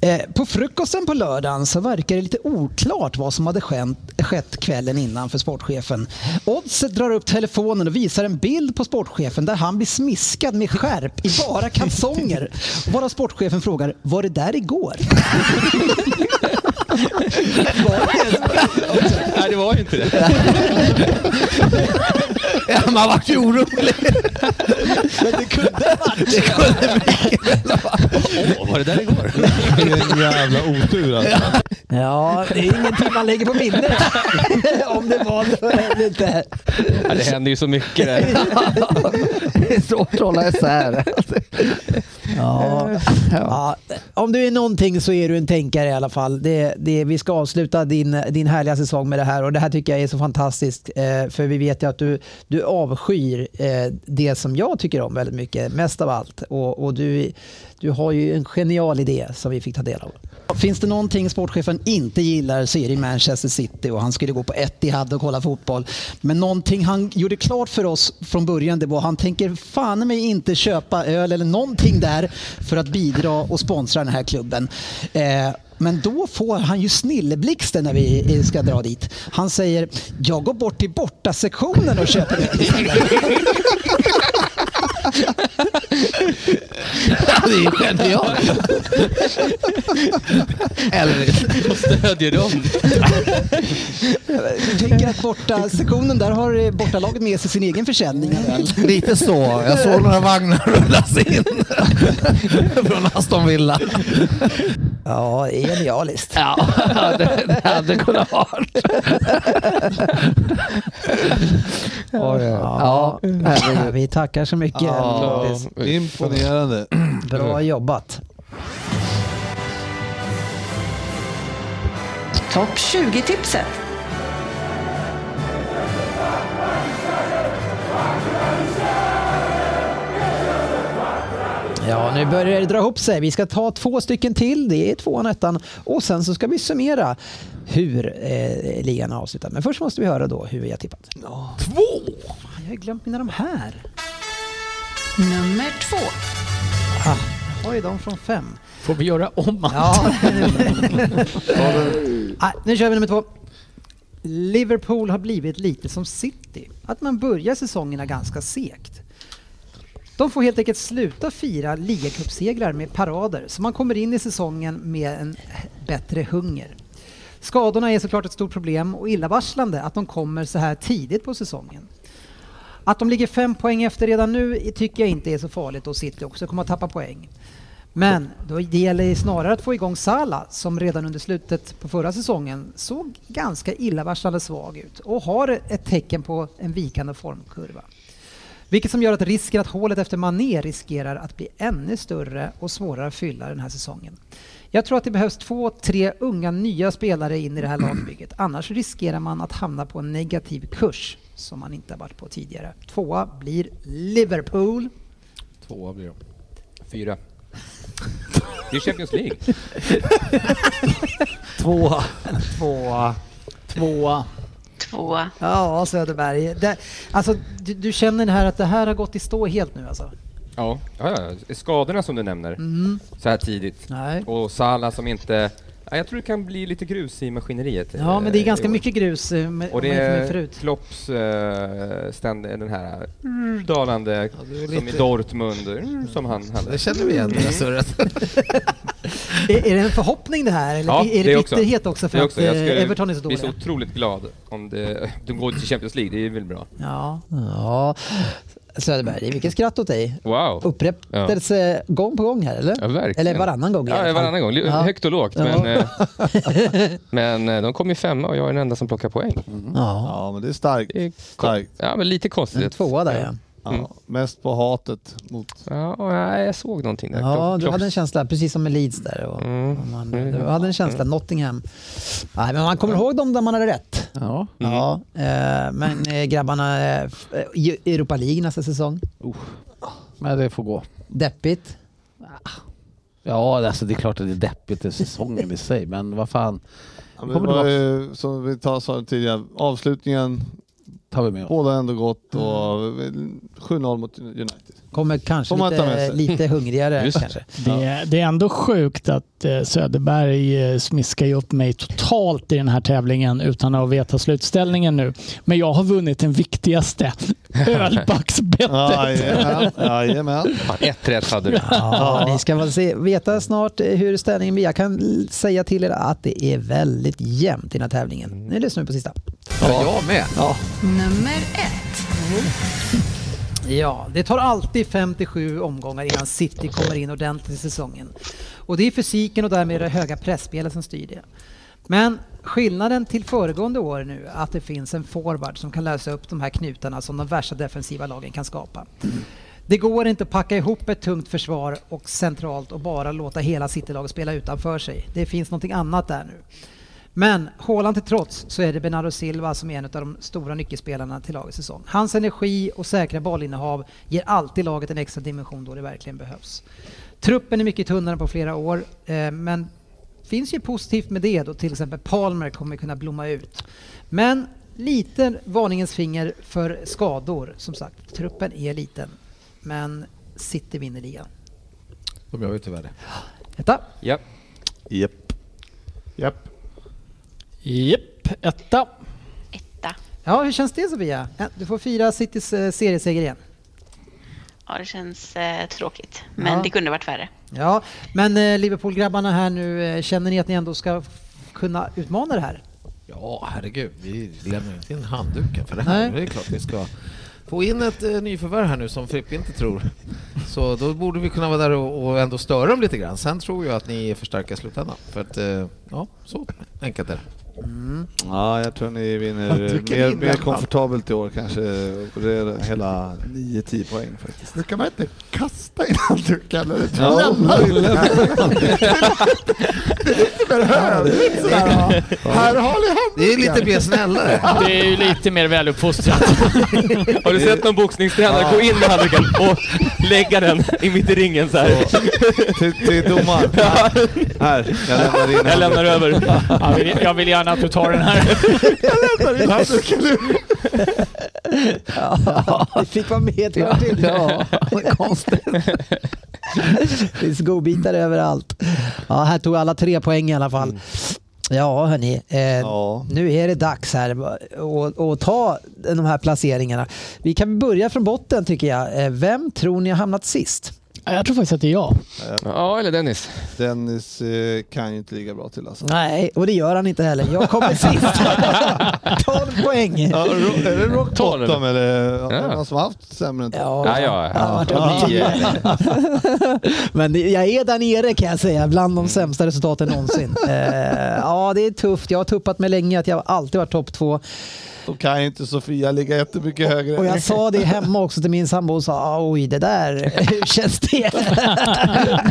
Speaker 3: Eh, På frukosten på lördagen så verkar det lite oklart vad som hade skänt, skett kvällen innan för sportchefen. Oddset drar upp telefonen och visar en bild på sportchefen där han blir smiskad med skärp i bara kalsonger. Varav sportchefen frågar, var det där igår?
Speaker 6: Nej, det var ju inte det.
Speaker 8: Ja, man vart ju orolig.
Speaker 3: Men det kunde ha varit.
Speaker 8: Det kunde bli.
Speaker 6: Åh, var det där igår?
Speaker 4: Vilken jävla otur alltså.
Speaker 3: Ja, det är ingenting man lägger på minnet. Om det var det eller inte.
Speaker 6: Ja, det händer ju så mycket där.
Speaker 20: Det är svårt att hålla isär.
Speaker 3: Ja. Eh, Ja. Om du är någonting så är du en tänkare i alla fall. Det, det, vi ska avsluta din, din härliga säsong med det här och det här tycker jag är så fantastiskt. Eh, för vi vet ju att du, du avskyr eh, det som jag tycker om väldigt mycket, mest av allt. Och, och du, du har ju en genial idé som vi fick ta del av. Finns det någonting sportchefen inte gillar så är det Manchester City och han skulle gå på Etihad och kolla fotboll. Men någonting han gjorde klart för oss från början det var han tänker fan mig inte köpa öl eller någonting där för att bidra och sponsra den här klubben. Eh, men då får han ju snilleblixten när vi eh, ska dra dit. Han säger jag går bort till bortasektionen och köper öl.
Speaker 8: Det är ju genialt. Elvis.
Speaker 6: Stödjer dem.
Speaker 3: Jag tänker att bortasektionen där har eh, bortalaget med sig sin egen försäljning av öl.
Speaker 8: Lite så. Jag såg några vagnar rullas in från Aston Villa.
Speaker 3: Ja, genialiskt.
Speaker 8: Ja, det, det hade kunnat vara.
Speaker 20: Oj,
Speaker 3: Ja,
Speaker 20: Ja, herregud.
Speaker 3: vi tackar så mycket.
Speaker 4: Ja,
Speaker 3: Lovis.
Speaker 4: imponerande.
Speaker 3: Bra jobbat.
Speaker 11: Topp 20-tipset.
Speaker 3: Ja, nu börjar det dra ihop sig. Vi ska ta två stycken till. Det är tvåan och ettan. Och sen så ska vi summera hur eh, ligan har avslutat. Men först måste vi höra då hur vi har tippat.
Speaker 8: Två!
Speaker 3: Jag har ju glömt mina de här.
Speaker 11: Nummer två.
Speaker 3: Ah, Jag har ju de från fem.
Speaker 21: Får vi göra om allt?
Speaker 3: Nej, Ah, nu kör vi nummer två. Liverpool har blivit lite som City, att man börjar säsongerna ganska segt. De får helt enkelt sluta fira ligacupsegrar med parader, så man kommer in i säsongen med en bättre hunger. Skadorna är såklart ett stort problem och illavarslande att de kommer så här tidigt på säsongen. Att de ligger fem poäng efter redan nu tycker jag inte är så farligt och City också kommer att tappa poäng. Men då det gäller ju snarare att få igång Salah som redan under slutet på förra säsongen såg ganska illavarslande svag ut och har ett tecken på en vikande formkurva. Vilket som gör att risken att hålet efter Mané riskerar att bli ännu större och svårare att fylla den här säsongen. Jag tror att det behövs två, tre unga nya spelare in i det här lagbygget. Annars riskerar man att hamna på en negativ kurs som man inte har varit på tidigare. Tvåa blir Liverpool.
Speaker 6: Tvåa blir de. Fyra. Det är Champions League.
Speaker 3: Tvåa. Tvåa.
Speaker 21: Tvåa.
Speaker 2: Tvåa.
Speaker 3: Ja, Söderberg. Det, alltså, du, du känner det här att det här har gått i stå helt nu alltså?
Speaker 6: Ja, ja, ja. skadorna som du nämner
Speaker 3: Mm.
Speaker 6: så här tidigt.
Speaker 3: Nej.
Speaker 6: Och Salah som inte... Ja, jag tror det kan bli lite grus i maskineriet.
Speaker 3: Ja,
Speaker 6: eh,
Speaker 3: men det är ganska
Speaker 6: i år.
Speaker 3: mycket grus eh, med,
Speaker 6: Och det
Speaker 3: med,
Speaker 6: är
Speaker 3: med förut.
Speaker 6: Klopps eh, ständ, den här eh, dalande,
Speaker 3: det är
Speaker 6: som i
Speaker 3: lite-
Speaker 6: Dortmund, eh, som han hade.
Speaker 8: Det känner vi igen, det där surret.
Speaker 3: är, är det en förhoppning det här? Eller
Speaker 6: Ja,
Speaker 3: är det, bitterhet också, för
Speaker 6: Det
Speaker 3: att
Speaker 6: Jag
Speaker 3: eh,
Speaker 6: skulle
Speaker 3: Everton är så
Speaker 6: bli
Speaker 3: dåliga?
Speaker 6: så otroligt glad om det, de går till Champions League, det är väl bra.
Speaker 3: Ja. ja.
Speaker 22: Söderberg, vilket skratt åt dig.
Speaker 6: Wow.
Speaker 22: Upprepelse gång på gång här, eller?
Speaker 6: Ja, verkligen.
Speaker 22: eller varannan gång i alla
Speaker 6: Ja,
Speaker 22: fall.
Speaker 6: varannan gång. Li-
Speaker 22: Ja.
Speaker 6: Högt och lågt.
Speaker 22: Ja.
Speaker 6: Men, eh, men eh, de kom ju femma och jag är den enda som plockar poäng.
Speaker 22: Ja.
Speaker 4: men det är starkt. starkt.
Speaker 6: Ja, men lite konstigt.
Speaker 4: En tvåa där, ja.
Speaker 6: Mm.
Speaker 4: Mest på hatet mot...
Speaker 6: Ja, och nej, jag såg någonting där.
Speaker 22: Ja,
Speaker 6: Klopp-
Speaker 22: du hade en känsla, precis som med Leeds där. Och, och man, du hade en känsla, Nottingham. Nej, men man kommer ihåg dem där man hade rätt.
Speaker 23: Ja.
Speaker 20: Mm.
Speaker 22: ja eh, men eh, grabbarna, eh, f- eh, i Europa League nästa säsong.
Speaker 23: Men det får gå.
Speaker 22: Deppigt.
Speaker 23: Ja, alltså det är klart att det är deppigt i säsongen i sig, men vad fan.
Speaker 4: Ja, men
Speaker 23: Kommer
Speaker 4: det var,
Speaker 23: tillbaka.
Speaker 4: ju- som vi ta- sa tidigare, avslutningen
Speaker 23: tar vi med oss.
Speaker 4: Båda ändå gått och 7-0 mot United.
Speaker 22: Kommer kanske
Speaker 4: Får man ta med
Speaker 22: lite,
Speaker 4: sig.
Speaker 22: lite hungrigare
Speaker 4: Just det.
Speaker 22: kanske.
Speaker 5: Det är, det är ändå sjukt att eh, Söderberg eh, smiskar ju upp mig totalt i den här tävlingen utan att veta slutställningen nu. Men jag har vunnit den viktigaste, ölbacksbettet.
Speaker 4: Jajamän, jajamän.
Speaker 6: Fan, ett rätt hade du.
Speaker 22: Ja, ni ska väl se, veta snart eh, hur ställningen blir. Jag kan l- säga till er att det är väldigt jämnt i den här tävlingen.
Speaker 3: Mm.
Speaker 22: Nu lyssnar vi på sista.
Speaker 8: Ja, jag med.
Speaker 22: Ja.
Speaker 24: Nummer ett.
Speaker 3: Mm. Ja, det tar alltid 57 omgångar innan City kommer in ordentligt i säsongen. Och det är fysiken och därmed det höga pressspelet som styr det. Men skillnaden till föregående år nu är att det finns en forward som kan lösa upp de här knutarna som de värsta defensiva lagen kan skapa. Det går inte att packa ihop ett tungt försvar och centralt och bara låta hela Citylaget spela utanför sig. Det finns någonting annat där nu. Men Haaland till trots så är det Bernardo Silva som är en av de stora nyckelspelarna till lagets säsong. Hans energi och säkra bollinnehav ger alltid laget en extra dimension då det verkligen behövs. Truppen är mycket tunnare än på flera år, eh, men finns ju positivt med det då till exempel Palmer kommer kunna blomma ut. Men lite varningens finger för skador. Som sagt, truppen är liten, men City vinner ligan.
Speaker 8: De gör ju tyvärr det.
Speaker 3: Etta.
Speaker 6: Japp.
Speaker 4: Japp.
Speaker 9: Japp.
Speaker 21: Japp, etta.
Speaker 3: Ja, hur känns det Sofia? Ja, Du får fira Citys eh, serieseger igen.
Speaker 2: Ja, det känns eh, tråkigt. Men
Speaker 3: Ja.
Speaker 2: det kunde varit värre.
Speaker 3: Ja, men eh, Liverpool-grabbarna här nu, eh, känner ni att ni ändå ska f- kunna utmana det här?
Speaker 8: Ja, herregud. Vi lämnar inte in handduken för det
Speaker 3: Nej.
Speaker 8: här. Det är klart vi ska få in ett eh, nyförvärv här nu som Frippe inte tror. Så då borde vi kunna vara där och, och ändå störa dem lite grann. Sen tror jag att ni är för starka i slutändan. För att, eh, ja, så enkelt är det.
Speaker 4: Ja, jag tror ni vinner
Speaker 8: Jag tycker ni
Speaker 4: mer,
Speaker 8: vinner.
Speaker 4: mer komfortabelt i år kanske. Det är hela 9-10 poäng faktiskt.
Speaker 9: Nu kan man inte kasta in handduken eller
Speaker 4: Ja,
Speaker 9: lämna den.
Speaker 4: lämna den.
Speaker 9: Det är lite mer hövligt sådär. ja. Här har ni handduken.
Speaker 8: Det är lite mer snällare.
Speaker 21: Det är ju lite mer väluppfostrat.
Speaker 6: Har du sett någon boxningstränare gå in med handduken och lägga den i mitt i ringen så här?
Speaker 4: Till, till domaren. Här, jag lämnar in
Speaker 21: Jag lämnar
Speaker 4: handduken.
Speaker 21: över. Jag vill, jag vill gärna att du tar den här.
Speaker 22: Ja, vi fick vara med ett varv till.
Speaker 23: Ja,
Speaker 22: Vad konstigt.
Speaker 3: Det finns godbitar överallt. Ja, här tog alla tre poäng i alla fall. Ja, hörni. Eh, Nu är det dags här att- att ta de här placeringarna. Vi kan börja från botten tycker jag. Eh, Vem tror ni har hamnat sist?
Speaker 5: Jag tror faktiskt att det är jag.
Speaker 4: Ja, eller Dennis. Dennis eh, kan ju inte ligga bra till alltså.
Speaker 3: Nej, och det gör han inte heller. Jag kommer sist. 12 poäng.
Speaker 4: Ja, ro- är det rock
Speaker 3: Tolv,
Speaker 4: bottom eller? Ja.
Speaker 3: Ja.
Speaker 4: Någon som har haft sämre än
Speaker 3: Ja, Ja, ja. ja, det var tio.
Speaker 4: Ja.
Speaker 3: Men det, jag är där nere kan jag säga, bland de sämsta resultaten någonsin. Eh, ja, det är tufft. Jag har tuppat mig länge att jag alltid varit topp två.
Speaker 4: Då kan ju inte Sofia ligga jättemycket högre.
Speaker 3: Och jag sa det hemma också till min sambo och sa oj det där, hur känns det?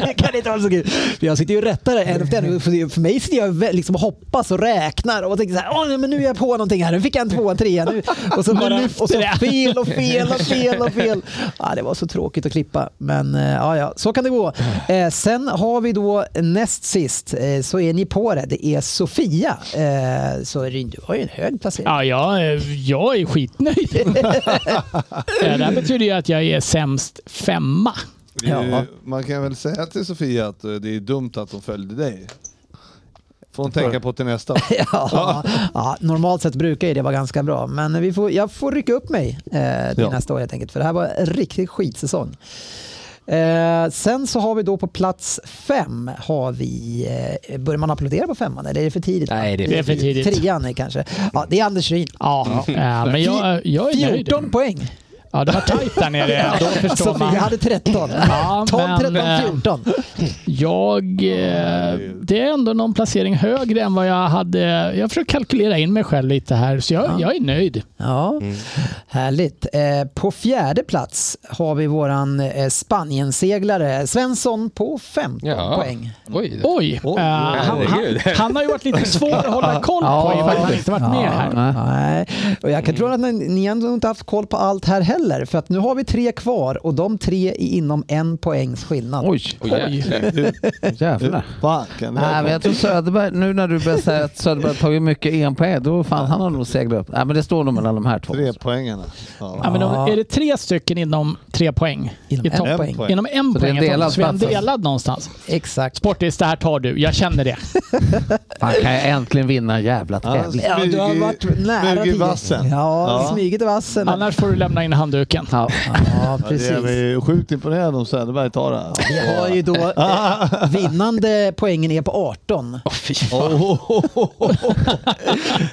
Speaker 3: det kan inte vara så kul. För jag sitter ju och rättar det en efter en. För för mig sitter jag och vä- liksom och hoppas och räknar och tänker så här, åh, nej, men nu är jag på någonting här, nu fick jag en tvåa, en trea. Nu. Och så,
Speaker 25: Nu
Speaker 3: bara,
Speaker 25: lyfter
Speaker 3: och så
Speaker 25: det.
Speaker 3: fel och fel och fel och fel. Ja, det var så tråkigt att klippa, men eh, ja, ja, så kan det gå. Eh, sen har vi då näst sist, eh, så är ni på det, det är Sofia. Eh, så är det, du har ju en hög placering.
Speaker 5: Ja, jag, eh, jag är skitnöjd. Eh, det här betyder ju att jag är sämst femma.
Speaker 4: Det är ju- Man kan väl säga till Sofia att eh, det är dumt att hon följde dig. Får hon tänka på till nästa.
Speaker 3: Ja, ja, normalt sett brukar ju det vara ganska bra, men vi får, jag får rycka upp mig eh, till
Speaker 4: Ja.
Speaker 3: nästa år helt enkelt, för det här var en riktig skitsäsong. Eh, sen så har vi då på plats fem, har vi, eh, börjar man applådera på femman eller är det för tidigt? Nej,
Speaker 5: det är för Det är för tidigt. tidigt.
Speaker 3: Trean är kanske. Ja, det är Anders Ryn.
Speaker 5: Ja, eh, men jag, jag är nöjd.
Speaker 3: 14 poäng.
Speaker 5: Ja, det var tajt där nere. Då förstår
Speaker 3: Sofia
Speaker 5: man.
Speaker 3: hade 13.
Speaker 5: Ja,
Speaker 3: 12,
Speaker 5: men,
Speaker 3: 13,
Speaker 5: eh,
Speaker 3: 14.
Speaker 5: Jag, eh, det är ändå någon placering högre än vad jag hade. Jag försöker kalkylera in mig själv lite här, så jag, jag är nöjd.
Speaker 3: Ja, härligt. Eh, på fjärde plats har vi våran eh, Spanienseglare Svensson på 15 poäng.
Speaker 5: Oj! Eh, han, han, han har ju varit lite svår att hålla koll på
Speaker 3: Ja,
Speaker 5: i och med att han
Speaker 3: faktiskt.
Speaker 5: inte varit med
Speaker 3: Ja,
Speaker 5: här.
Speaker 3: Nej. Och jag kan tro att ni, ni ändå inte haft koll på allt här heller. För att nu har vi tre kvar och de tre är inom en poängs skillnad.
Speaker 8: Oj! Jävlar. Nej, men jag tror Söderberg, nu när du börjar säga att Söderberg har tagit mycket enpoäng, då fan han har nog seglat upp. Nej, men det står nog mellan de här två. Tre
Speaker 4: poängarna.
Speaker 5: Ja, men om, är det tre stycken inom tre poäng? Inom
Speaker 8: en poäng.
Speaker 5: Inom en
Speaker 8: Så det är en
Speaker 5: poäng. jag tror.
Speaker 8: delad
Speaker 5: Så vi är en
Speaker 8: plats, alltså.
Speaker 5: delad någonstans.
Speaker 3: Exakt.
Speaker 5: Sportis, det här tar du. Jag känner det.
Speaker 8: Fan, kan jag äntligen vinna en jävla tävling?
Speaker 3: Ja, du har varit nära tiden. Ja,
Speaker 4: Ja.
Speaker 3: smugit i vassen.
Speaker 5: Annars får du lämna in handduken.
Speaker 8: Ja,
Speaker 3: ja precis.
Speaker 4: Jag är sjukt imponerad om Söderberg tar det här.
Speaker 3: Vi har ju då eh, vinnande poängen är på 18.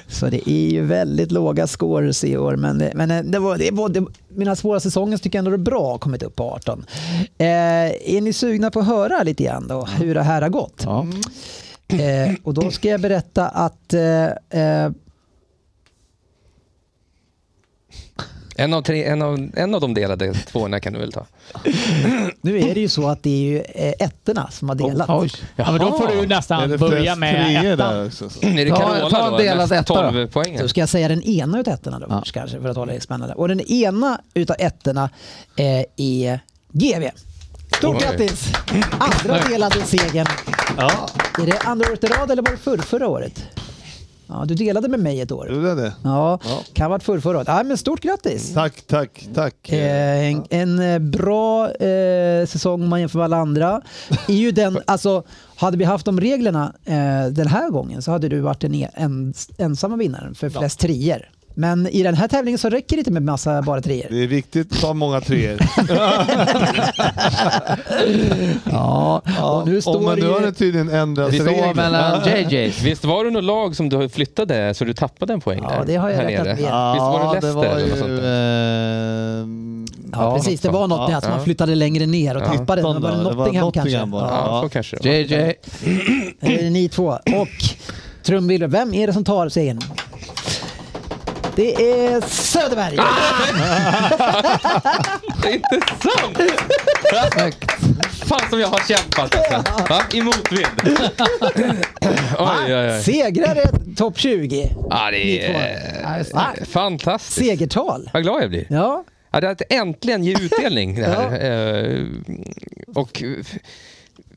Speaker 3: så det är ju väldigt låga scores i år. Men, det- men eh, det var, det var, det, mina svåra säsonger tycker jag ändå det är bra har kommit upp på 18. Eh, är ni sugna på att höra lite grann då hur det här har gått? Eh, och då ska jag berätta att eh, eh,
Speaker 6: En av, tre, en, av, en av de delade tvåorna kan du väl ta?
Speaker 3: nu är det ju så att det är ju eh, ettorna som har delat.
Speaker 6: Oj.
Speaker 5: Ja, men då får du ju
Speaker 6: Är
Speaker 5: nästan
Speaker 6: det
Speaker 5: börja med ettan.
Speaker 6: Är det Carola då? Näst 12 poängen.
Speaker 3: Då ska jag säga den ena utav ettorna då först kanske för att hålla det spännande. Och den ena utav ettorna eh, är GV. Stort
Speaker 26: Oj.
Speaker 3: grattis! Andra delade segern.
Speaker 4: Ja.
Speaker 3: Är det andra året i rad eller var det förr, förra året? Ja, du delade med mig ett år.
Speaker 4: Gjorde det?
Speaker 3: Ja, kan ha varit förr, förra året. Ja, men stort grattis!
Speaker 4: Mm. Tack, tack, tack.
Speaker 3: Eh, en, en eh, bra eh, säsong om man jämför med alla andra. Är ju den, alltså, hade vi haft de reglerna eh, den här gången så hade du varit den e- en, ensamma vinnaren för flest trier. Men i den här tävlingen så räcker det inte med massa bara trier.
Speaker 4: Det är viktigt att ta många treor.
Speaker 3: ja, och nu
Speaker 4: Om man nu har det tydligen ändrat
Speaker 6: Visst-
Speaker 4: reglerna.
Speaker 6: Visst var det något lag som du flyttade så du tappade en poäng där? Ja, det
Speaker 3: har jag räknat
Speaker 6: Visst
Speaker 3: med.
Speaker 6: var
Speaker 4: Ja,
Speaker 6: det
Speaker 4: det
Speaker 6: Leicester
Speaker 4: var
Speaker 6: eller något
Speaker 4: ju...
Speaker 6: sånt? där?
Speaker 4: Eh,
Speaker 3: Ja, precis. Det var något med att man flyttade längre ner och
Speaker 4: Ja.
Speaker 3: tappade den. Var det
Speaker 4: Det var
Speaker 3: Nottingham kanske?
Speaker 4: Nottingham var det. Ja, så kanske det var.
Speaker 8: JJ.
Speaker 3: Eh, Ni två. Och trumvirvel. Vem är det som tar segern? Det är Söderberg!
Speaker 4: Ah!
Speaker 6: Det är inte sant! Fan som jag har kämpat alltså. Va? I motvind. Oj, oj, oj.
Speaker 3: Segrare topp 20.
Speaker 6: Ja,
Speaker 3: Ni
Speaker 6: det
Speaker 3: två.
Speaker 6: är
Speaker 3: Va?
Speaker 6: eh, fantastiskt.
Speaker 3: Segertal.
Speaker 6: Vad glad jag blir.
Speaker 3: Ja.
Speaker 6: det är att äntligen ge utdelning det här. Eh, Och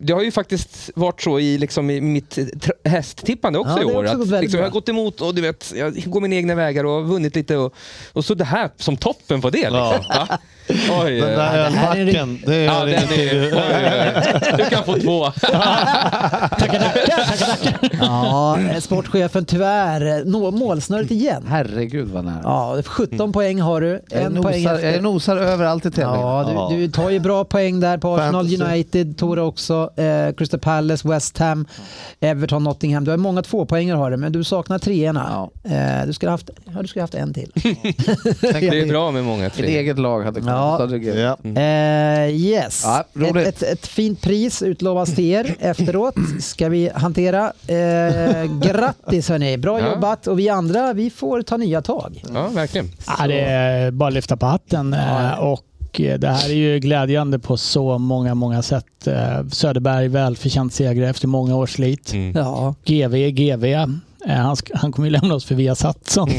Speaker 6: det har ju faktiskt varit så i, liksom, i mitt tr- hästtippande också
Speaker 3: Ja,
Speaker 6: i
Speaker 3: det har
Speaker 6: år.
Speaker 3: också
Speaker 6: att,
Speaker 3: gått väldigt
Speaker 6: liksom, jag har
Speaker 3: bra.
Speaker 6: gått emot och du vet, jag går mina egna vägar och har vunnit lite. Och, och så det här som toppen på det. Liksom, va?
Speaker 15: Oj,
Speaker 27: den
Speaker 15: ja,
Speaker 27: där
Speaker 15: det här är en
Speaker 27: ölbacken. Det gör
Speaker 15: Ja, den
Speaker 27: ingenting.
Speaker 15: är... Oj, oj, oj. Du kan få två.
Speaker 3: Ja, eh, sportchefen tyvärr. eh, Nå målsnöret igen.
Speaker 7: Herregud vad nära.
Speaker 3: Ja, 17 poäng har du.
Speaker 7: Jag
Speaker 3: En
Speaker 7: nosar-
Speaker 3: poäng
Speaker 7: jag nosar överallt i tävlingen.
Speaker 3: Ja,
Speaker 7: Ja.
Speaker 3: du, du tar ju bra poäng där på Arsenal,
Speaker 7: Fantasy.
Speaker 3: United, Tora också, eh, Crystal Palace, West Ham, Everton, Nottingham. Du har många tvåpoängare har du, men du saknar treorna. Eh, du skulle ha haft, ja, du skulle ha haft en till.
Speaker 15: Det är bra med många
Speaker 7: Ett
Speaker 15: tre.
Speaker 7: eget lag hade
Speaker 3: Ja.
Speaker 7: kunnat. Ja.
Speaker 3: Eh, yes.
Speaker 7: Ja,
Speaker 3: ett,
Speaker 7: roligt.
Speaker 3: ett, ett fint pris utlovas till er efteråt. Ska vi hantera. Eh, grattis hörni, bra
Speaker 28: Ja.
Speaker 3: jobbat. Och vi andra, vi får ta nya tag.
Speaker 15: Ja, verkligen.
Speaker 28: Ja, det är bara att lyfta på hatten. eh, Och eh, det här är ju glädjande på så många, många sätt. Eh, Söderberg välförtjänt seger efter många års slit.
Speaker 15: Mm.
Speaker 3: Ja.
Speaker 28: GV är GV. Eh, Han, sk- han kommer ju lämna oss för Viasat. som-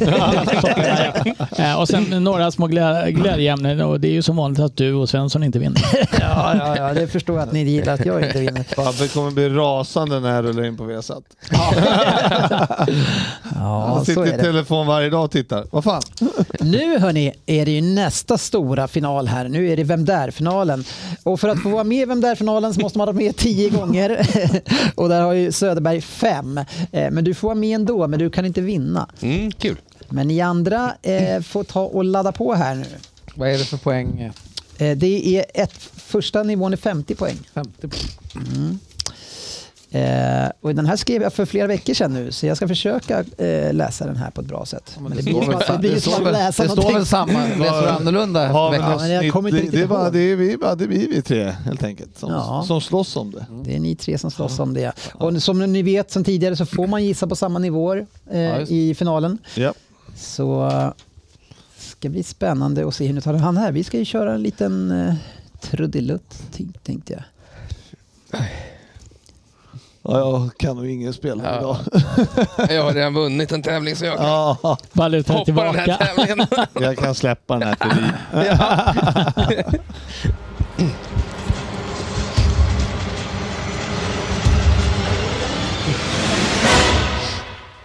Speaker 28: Eh, och sen några små glä- glädjeämnen och det är ju som vanligt att du och Svensson inte vinner.
Speaker 3: Ja, ja, ja, det förstår jag att ni gillar att jag inte vinner.
Speaker 4: Fabbe kommer bli rasande när jag rullar in på Viasat. Han
Speaker 3: så
Speaker 4: sitter
Speaker 3: är
Speaker 4: i
Speaker 3: det.
Speaker 4: telefon varje dag och tittar. Vad fan?
Speaker 3: Nu hörni är det ju nästa stora final här. Nu är det Vem Där-finalen. Och för att få vara med i Vem Där-finalen så måste man ha varit med tio gånger. Och där har ju Söderberg fem. Eh, Men du får vara med ändå, men du kan inte vinna.
Speaker 15: Mm, kul.
Speaker 3: Men ni andra eh, får ta och ladda på här nu.
Speaker 7: Vad är det för poäng?
Speaker 3: Eh, Det är ett, första nivån är 50 poäng.
Speaker 7: 50
Speaker 3: Mm. Eh, och den här skrev jag för flera veckor sedan nu, så jag ska försöka eh, läsa den här på ett bra sätt. Men det, blir som att- det blir som att läsa någonting.
Speaker 4: Ja, men
Speaker 3: Ja, men jag kommer inte
Speaker 4: det,
Speaker 3: riktigt
Speaker 4: det, är bara,
Speaker 3: ihåg.
Speaker 4: det, är vi, bara, det är vi, vi tre helt enkelt som,
Speaker 3: Ja. Mm.
Speaker 4: som slåss om det.
Speaker 3: Det är ni tre som slåss om det. Och som ni vet sen tidigare så får man gissa på samma nivåer eh,
Speaker 4: Ja, just det.
Speaker 3: i finalen.
Speaker 4: Ja.
Speaker 3: Så eh, ska bli spännande att se hur ni tar hand här. Vi ska ju köra en liten eh, trudelutt tänk- tänkte jag.
Speaker 4: Ja, jag kan nog ingen spel här idag.
Speaker 15: Jag har redan vunnit en tävling så jag kan
Speaker 4: Ja.
Speaker 28: Valuta
Speaker 15: hoppa den här tävlingen.
Speaker 4: Jag kan släppa den här till dig.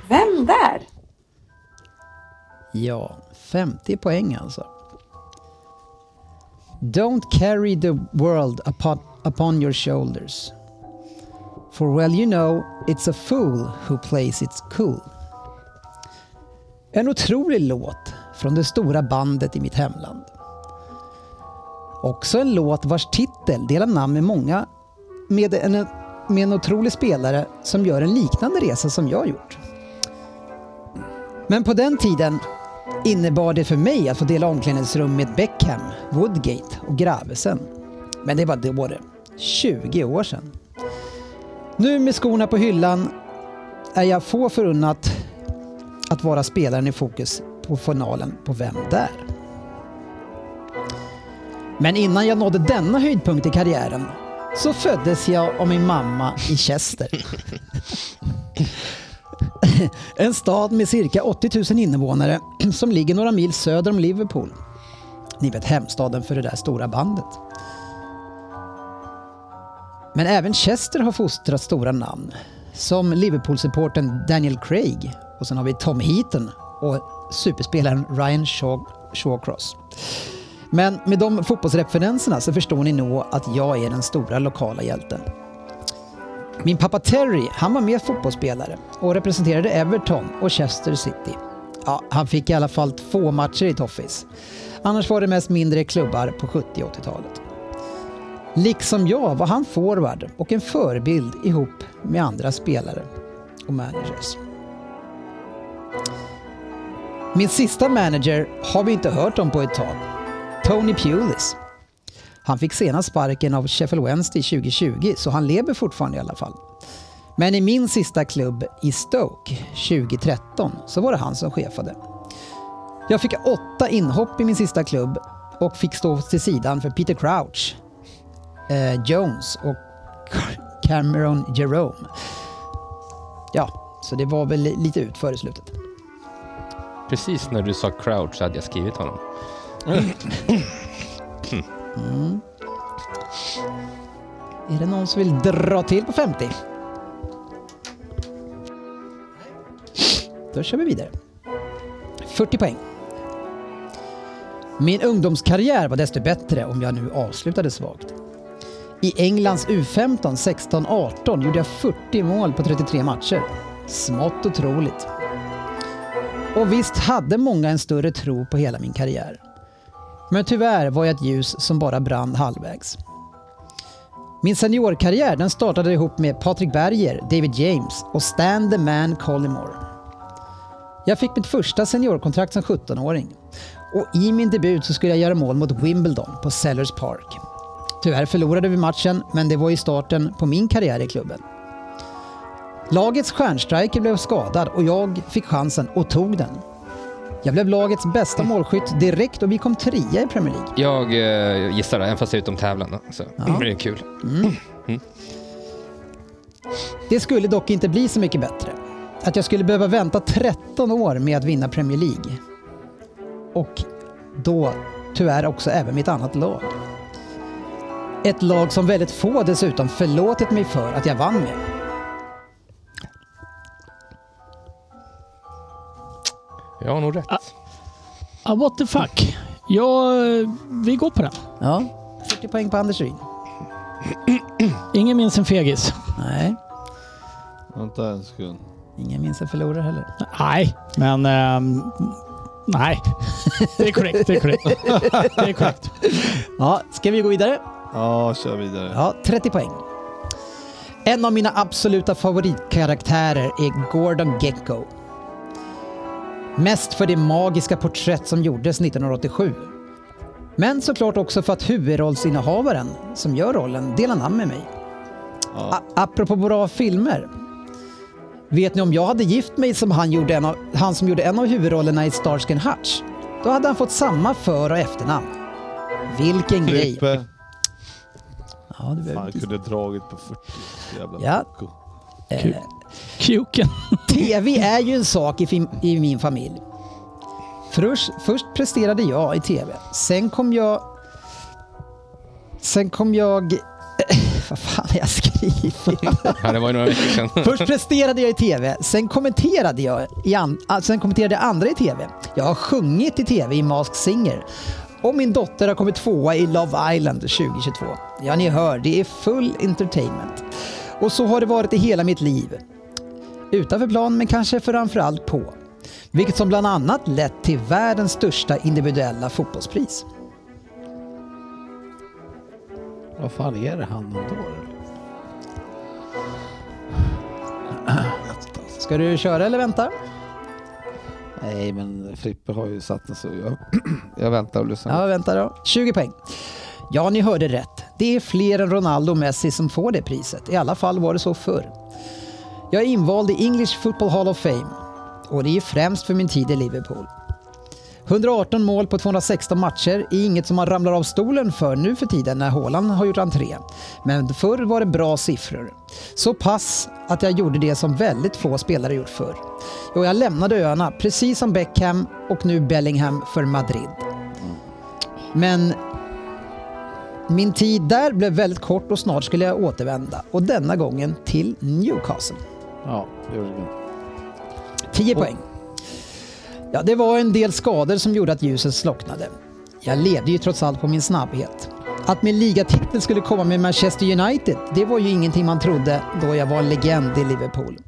Speaker 1: Vem där?
Speaker 3: Ja, 50 poäng alltså. Don't carry the world upon, upon your shoulders. For well you know, it's a fool who plays it cool. En otrolig låt från det stora bandet i mitt hemland. Också en låt vars titel delar namn med många med en, med en otrolig spelare som gör en liknande resa som jag gjort. Men på den tiden innebar det för mig att få dela omklädningsrum med Beckham, Woodgate och Gravesen. Men det var då det. 20 år sedan. Nu med skorna på hyllan är jag få förunnat att vara spelaren i fokus på finalen på Vem där? Men innan jag nådde denna höjdpunkt i karriären så föddes jag av min mamma i Chester. En stad med cirka 80 000 invånare som ligger några mil söder om Liverpool. Ni vet hemstaden för det där stora bandet. Men även Chester har fostrat stora namn. Som Liverpool-supporten Daniel Craig och sen har vi Tom Heaton och superspelaren Ryan Shaw- Shawcross. Men med de fotbollsreferenserna så förstår ni nog att jag är den stora lokala hjälten. Min pappa Terry, han var med fotbollsspelare och representerade Everton och Chester City. Ja, han fick i alla fall två matcher i Toffees. Annars var det mest mindre klubbar på 70 och 80-talet. Liksom jag var han forward och en förebild ihop med andra spelare och managers. Min sista manager har vi inte hört om på ett tag. Tony Pulis. Han fick senast sparken av Sheffield Wednesday 2020, så han lever fortfarande i alla fall. Men i min sista klubb i Stoke 2013 så var det han som chefade. Jag fick åtta inhopp i min sista klubb och fick stå till sidan för Peter Crouch, eh, Jones och Cameron Jerome. Ja, så det var väl lite ut före slutet.
Speaker 15: Precis när du sa crouch hade jag skrivit honom.
Speaker 3: Mm. Är det någon som vill dra till på 50? Då kör vi vidare. 40 poäng. Min ungdomskarriär var desto bättre om jag nu avslutade svagt. I Englands U15 16-18 gjorde jag 40 mål på 33 matcher. Smått otroligt. Och visst hade många en större tro på hela min karriär. Men tyvärr var jag ett ljus som bara brann halvvägs. Min seniorkarriär den startade ihop med Patrik Berger, David James och Stan the Man Collymore. Jag fick mitt första seniorkontrakt som 17-åring och i min debut så skulle jag göra mål mot Wimbledon på Sellers Park. Tyvärr förlorade vi matchen, men det var i starten på min karriär i klubben. Lagets stjärnstriker blev skadad och jag fick chansen och tog den. Jag blev lagets bästa målskytt direkt och vi kom trea i Premier League.
Speaker 6: Jag eh, gissar det, även fast det är utom tävlan. då, Så.
Speaker 3: Ja.
Speaker 6: Det är kul. Mm.
Speaker 3: Det skulle dock inte bli så mycket bättre. Att jag skulle behöva vänta 13 år med att vinna Premier League. Och då tyvärr också även mitt annat lag. Ett lag som väldigt få dessutom förlåtit mig för att jag vann med.
Speaker 6: Jag har nog rätt.
Speaker 28: Ah, what the fuck. Ja, eh, vi går på den.
Speaker 3: Ja. 40 poäng på Anders Ryn.
Speaker 28: Ingen minns en fegis.
Speaker 3: Nej.
Speaker 4: Vänta en sekund.
Speaker 3: Ingen minns en förlorare heller.
Speaker 28: Nej, men... ehm, nej. Det är korrekt. Det är korrekt. Det är korrekt.
Speaker 3: Ja, ska vi gå vidare?
Speaker 4: Ja, kör vidare.
Speaker 3: Ja, 30 poäng. En av mina absoluta favoritkaraktärer är Gordon Gecko. Mest för det magiska porträtt som gjordes 1987. Men såklart också för att huvudrollsinnehavaren som gör rollen delar namn med mig. A- apropå bra filmer. Vet ni om jag hade gift mig som han, gjorde en av, han som gjorde en av huvudrollerna i Starsky and Hutch? Då hade han fått samma för och efternamn. Vilken grej!
Speaker 4: Frippe.
Speaker 3: Ja, du behöver
Speaker 4: Fan,
Speaker 3: inte-
Speaker 4: kunde dragit på 40. Jävla
Speaker 3: Ja.
Speaker 4: pucko.
Speaker 3: Eh, TV är ju en sak i, fim- i min familj. Först, först presterade jag i TV. Sen kom jag... Sen kom jag... Vad fan har jag skrivit?
Speaker 6: Ja, det var ju några veckor sedan.
Speaker 3: Först presterade jag i TV, sen kommenterade jag, i an- ah, sen kommenterade jag andra i TV. Jag har sjungit i TV i Masked Singer. Och min dotter har kommit tvåa i Love Island 2022. Ja, ni hör, det är full entertainment. Och så har det varit i hela mitt liv. Utanför plan, men kanske framförallt på. Vilket som bland annat lett till världens största individuella fotbollspris.
Speaker 8: Vad fan är det han ändå?
Speaker 3: Ska du köra eller vänta?
Speaker 8: Nej, men Frippe har ju satt den så jag, jag väntar och lyssnar.
Speaker 3: Ja, vänta då. 20 poäng. Ja, ni hörde rätt. Det är fler än Ronaldo och Messi som får det priset. I alla fall var det så förr. Jag är invald i English Football Hall of Fame och det är främst för min tid i Liverpool. 118 mål på 216 matcher är inget som man ramlar av stolen för nu för tiden när Haaland har gjort entré. Men förr var det bra siffror. Så pass att jag gjorde det som väldigt få spelare gjort förr. Och jag lämnade öarna, precis som Beckham och nu Bellingham för Madrid. Men min tid där blev väldigt kort och snart skulle jag återvända. Och denna gången till Newcastle.
Speaker 8: Ja, det gjorde det.
Speaker 3: 10 poäng. Ja, det var en del skador som gjorde att ljuset slocknade. Jag levde ju trots allt på min snabbhet. Att min ligatitel skulle komma med Manchester United, det var ju ingenting man trodde då jag var en legend i Liverpool.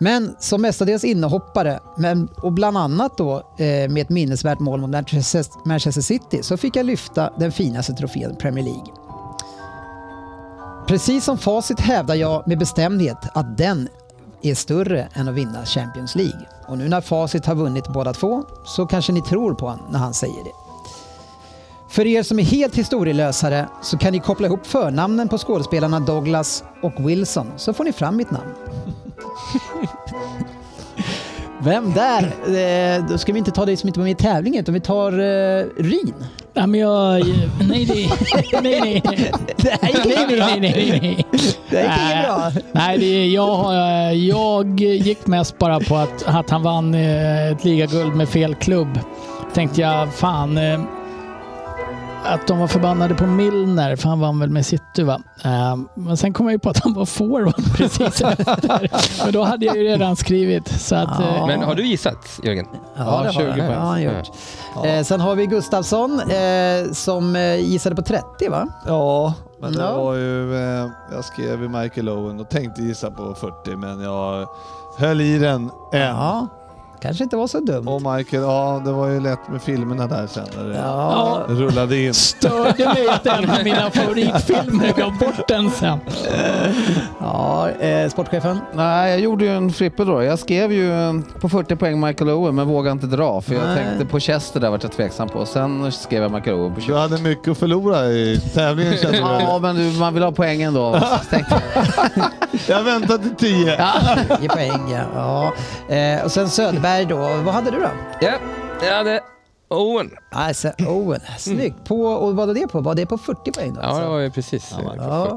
Speaker 3: Men som mestadels innehoppare, men, och bland annat då eh, med ett minnesvärt mål mot Manchester- Manchester City, så fick jag lyfta den finaste trofén Premier League. Precis som facit hävdar jag med bestämdhet att den är större än att vinna Champions League. Och nu när facit har vunnit båda två så kanske ni tror på honom när han säger det. För er som är helt historielösare så kan ni koppla ihop förnamnen på skådespelarna Douglas och Wilson så får ni fram mitt namn. Vem där? Eh, då ska vi inte ta dig som inte var med i tävlingen utan vi tar eh, Ryn.
Speaker 28: Nej, men jag... Nej, nej. Nej, nej.
Speaker 3: Det här gick inget bra.
Speaker 28: Nej, nej, nej.
Speaker 3: Det här gick inget bra.
Speaker 28: Nej, det är, jag, har- jag gick mest bara på att, att han vann eh, ett ligaguld med fel klubb. Tänkte jag, fan. eh,
Speaker 5: att de var förbannade på Milner, för han vann väl med City va? Ehm, men sen kom jag ju på att han var forward precis efter. Men då hade jag ju redan skrivit. Så att, eh,
Speaker 29: Men har du gissat, Jörgen?
Speaker 3: Ja, det har han. Ja, han gjort. Eh, sen har vi Gustafsson eh, som eh, gissade på 30 va?
Speaker 4: Ja, men det
Speaker 3: Ja.
Speaker 4: var ju... Eh, jag skrev ju Michael Owen och tänkte gissa på 40 men jag höll i den än. Ja,
Speaker 3: kanske inte var så dumt.
Speaker 4: Och Michael, ja det var ju lätt med filmerna där sen när det
Speaker 5: Ja.
Speaker 4: rullade in.
Speaker 5: störde mig att en av mina favoritfilmer gav bort den sen.
Speaker 3: Ja, eh, sportchefen?
Speaker 8: Nej, jag gjorde ju en frippe då. Jag skrev ju en- på 40 poäng Michael Owen, men vågade inte dra. För jag
Speaker 4: Nej.
Speaker 8: tänkte på Chester där vart jag tveksam på. Sen skrev jag Michael Owen på 20.
Speaker 4: Du hade mycket att förlora i tävlingen kände du?
Speaker 8: Ja, men du, man vill ha poängen då.
Speaker 4: jag väntar till 10.
Speaker 3: I poäng ja. ja. Eh, och sen Söderberg då. Vad hade du då?
Speaker 6: Ja, jag hade Owen.
Speaker 3: Alltså, Owen.
Speaker 4: Mm.
Speaker 3: Snyggt. På, och vad var det på? Var det på 40 poäng då? Alltså,
Speaker 6: Ja, det var ju precis. eh, på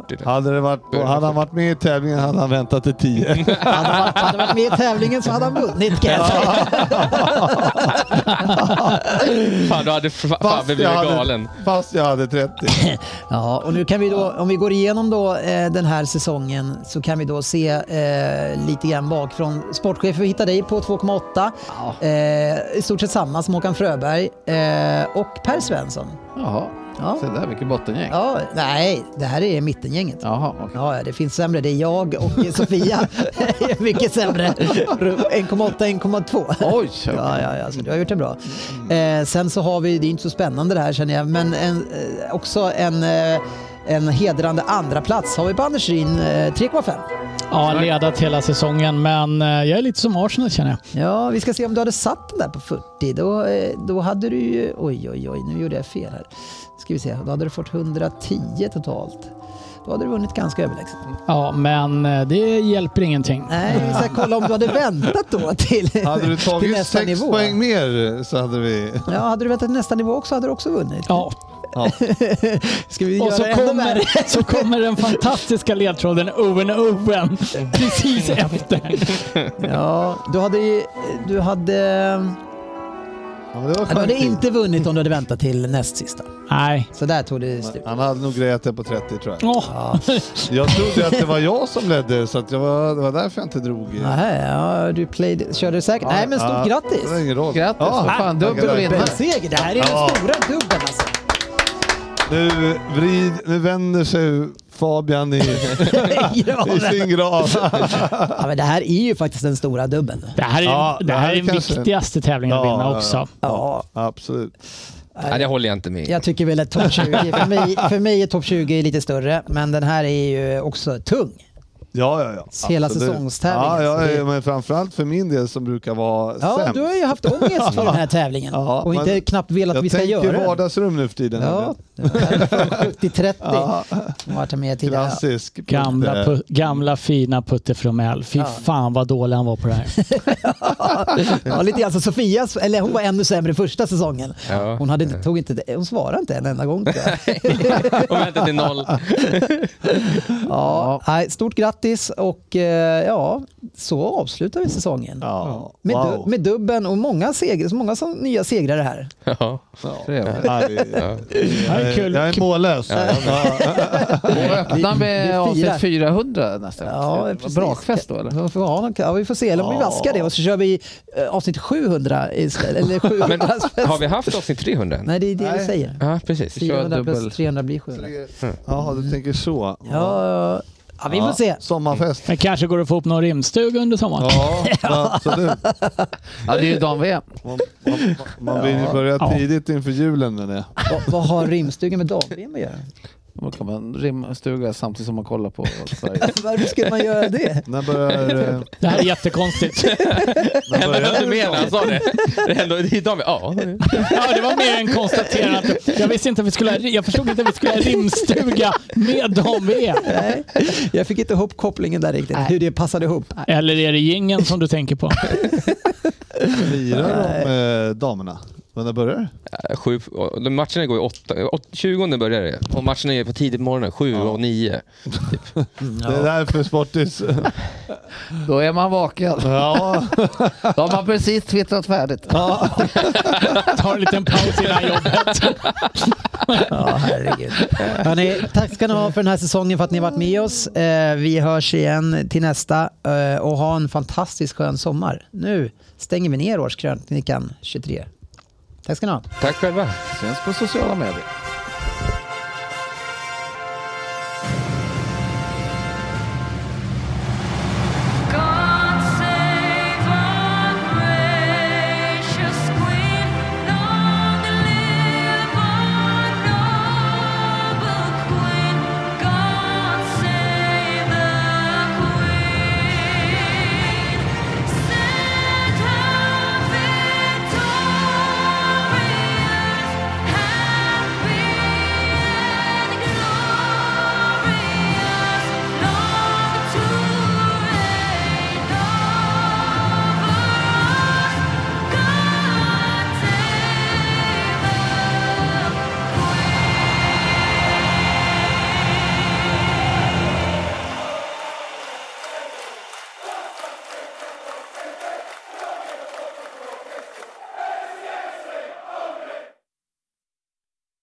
Speaker 6: 40 där.
Speaker 4: Hade, det varit på, hade han varit med i tävlingen hade han väntat till 10.
Speaker 3: Hade han varit med i tävlingen så hade han vunnit kan jag säga.
Speaker 6: Fan, då hade fa- Fabbe blivit galen.
Speaker 4: fast jag hade 30.
Speaker 3: ja, och nu kan vi då, om vi går igenom då eh, den här säsongen så kan vi då se eh, lite grann bakifrån. Sportchef, vi hittar dig på 2,8. Eh, I stort sett samma som Håkan Fröberg eh, och Per Svensson.
Speaker 8: Jaha,
Speaker 3: Ja.
Speaker 8: se där vilket bottengäng.
Speaker 3: Ja, nej, det här är mittengänget.
Speaker 8: Jaha,
Speaker 3: ja, det finns sämre. Det är jag och Sofia. är mycket sämre. 1,8, 1,2.
Speaker 8: Oj!
Speaker 5: Typ.
Speaker 3: Ja, ja, ja, så du har gjort det bra. Eh, sen så har vi, det är inte så spännande det här känner jag, men en, eh, också en, eh, en hedrande andra plats har vi på Anders Ryn, eh, 3,5.
Speaker 5: Ja, ledat hela säsongen, men eh, jag är lite som Arsenal känner jag.
Speaker 3: Ja, vi ska se om du hade satt den där på 40. Då, eh, då hade du ju... Oj, oj, oj, nu gjorde jag fel här. Ska vi se, då hade du fått 110 totalt. Då hade du vunnit ganska överlägset.
Speaker 5: Ja, men eh, det hjälper ingenting.
Speaker 3: Nej, vi ska kolla om du hade väntat då till,
Speaker 4: Hade du
Speaker 3: till
Speaker 4: tagit
Speaker 3: nästa
Speaker 4: 6
Speaker 3: nivå.
Speaker 4: poäng mer så hade vi...
Speaker 3: Ja, hade du väntat till nästa nivå också hade du också vunnit.
Speaker 5: Ja.
Speaker 4: Ja.
Speaker 3: Ska vi
Speaker 5: Och
Speaker 3: göra
Speaker 5: så
Speaker 3: ännu värre?
Speaker 5: kommer, så kommer den fantastiska ledtråden Owen Owen precis efter.
Speaker 3: Ja, du hade ju- Du hade...
Speaker 4: var
Speaker 3: du hade
Speaker 4: skönt.
Speaker 3: inte vunnit om du hade väntat till näst sista.
Speaker 5: Nej.
Speaker 3: Så där tog det slut.
Speaker 4: Han hade nog grejat det på 30 tror jag.
Speaker 3: Ja.
Speaker 4: Jag trodde att det var jag som ledde så att jag var, det var därför jag inte drog.
Speaker 3: Nej, ja, du played, körde säkert. Nej, men stort
Speaker 4: Ja,
Speaker 3: grattis!
Speaker 4: det var ingen roll. Grattis,
Speaker 3: Ja,
Speaker 4: för fan, dubbel
Speaker 3: tackar.
Speaker 4: vinnare.
Speaker 3: Dubbelseger, det här är
Speaker 4: Ja.
Speaker 3: den stora dubbeln alltså.
Speaker 4: Nu, vrid, nu vänder sig Fabian i, i sin grav.
Speaker 3: ja, men det här är ju faktiskt den stora dubbeln.
Speaker 5: Det här är,
Speaker 4: Ja,
Speaker 5: det här är den
Speaker 4: kanske-
Speaker 5: viktigaste tävlingen att
Speaker 4: Ja,
Speaker 5: vinna
Speaker 4: ja, ja.
Speaker 5: också.
Speaker 3: Ja,
Speaker 4: absolut.
Speaker 6: Nej, det håller jag inte med i.
Speaker 3: Jag tycker väl att topp 20, för mig, för mig är topp 20 lite större, men den här är ju också tung.
Speaker 4: Ja, ja, ja.
Speaker 3: Hela
Speaker 4: Absolut.
Speaker 3: säsongstävlingen,
Speaker 4: Ja,
Speaker 3: så
Speaker 4: ja,
Speaker 3: det-
Speaker 4: ja, men framförallt för min del som brukar vara
Speaker 3: Ja,
Speaker 4: sämst.
Speaker 3: du har ju haft ångest för den här tävlingen
Speaker 4: Ja,
Speaker 3: och inte
Speaker 4: men
Speaker 3: knappt velat att vi ska
Speaker 4: Jag
Speaker 3: göra
Speaker 4: tänker
Speaker 3: den.
Speaker 4: vardagsrum nu för tiden.
Speaker 3: Ja, till 30. Ja. Vart jag med tidigare.
Speaker 4: Klassisk.
Speaker 5: Gamla, pu- gamla fina Putte Fromell. Fy
Speaker 3: Ja.
Speaker 5: fan vad dålig han var på det här.
Speaker 3: Ja, lite grann som Sofias, eller hon var ännu sämre första säsongen.
Speaker 5: Ja.
Speaker 3: Hon, hade, inte- tog inte, hon svarade inte en enda gång. tror jag.
Speaker 6: Och vänta till noll.
Speaker 3: Ja, nej, stort grattis och eh, ja, så avslutar vi säsongen. Med,
Speaker 6: wow.
Speaker 3: du, med dubben och många, seger, så många som nya segrare här.
Speaker 6: Ja.
Speaker 4: Ja, det-
Speaker 6: här
Speaker 4: är kul. Jag är mållös.
Speaker 8: Öppna med
Speaker 3: Vi- vi firar.
Speaker 8: avsnitt 400 nästa
Speaker 3: Ja,
Speaker 8: vecka. Brakfest då eller?
Speaker 3: Vi får, ha någon, ja, vi får se, eller om vi
Speaker 8: Ja.
Speaker 3: vaskar det och så kör vi eh, avsnitt 700 istället. Eller 700
Speaker 6: Men har vi haft avsnitt 300 än?
Speaker 3: Nej, det är det vi
Speaker 6: Nej.
Speaker 3: säger.
Speaker 6: Ja, precis.
Speaker 3: 400 plus 300 blir 700.
Speaker 4: Ja, du tänker så.
Speaker 3: Ja, ja vi får
Speaker 5: Ja,
Speaker 3: se.
Speaker 4: Sommarfest.
Speaker 5: Det kanske går att få upp någon rimstuga under sommaren.
Speaker 4: Ja, absolut.
Speaker 8: Ja, det är ju dam-VM.
Speaker 4: Man vill ju börja tidigt inför julen med det.
Speaker 3: Vad, vad har rimstugan med dam-VM att göra?
Speaker 8: Då kan man rimstuga samtidigt som man kollar på Sverige.
Speaker 3: Varför skulle man göra det?
Speaker 4: När börjar... eh,
Speaker 5: Det här är jättekonstigt.
Speaker 6: Jag höll inte med när han sa det. Det hände i dag med... Ja.
Speaker 5: Ja, det var mer än konstaterande. Jag visste inte att vi skulle ha, jag förstod inte att vi skulle ha rimstuga med dam-VM.
Speaker 3: Nej, jag fick inte ihop kopplingen där riktigt, hur det passade ihop.
Speaker 5: Eller är det gingen som du tänker på?
Speaker 4: Firar de eh, damerna? Men när börjar det?
Speaker 6: Eh, Sju, och de matcherna går ju åtta, åt, 20 börjar det och matcherna är på tidigt på morgonen, sju och nio. Typ.
Speaker 4: Det är därför Sportis...
Speaker 5: Då är man vaken.
Speaker 4: Ja.
Speaker 5: Då har man precis twittrat färdigt.
Speaker 4: Ja.
Speaker 5: Tar en liten paus innan jobbet.
Speaker 3: Ja, herregud. Hörrni, tack ska ni ha för den här säsongen för att ni har varit med oss. Eh, Vi hörs igen till nästa eh, och ha en fantastisk skön sommar. Nu stänger vi ner årskrönikan 23. Tack ska ni ha.
Speaker 6: Tack själva.
Speaker 30: Syns på sociala medier.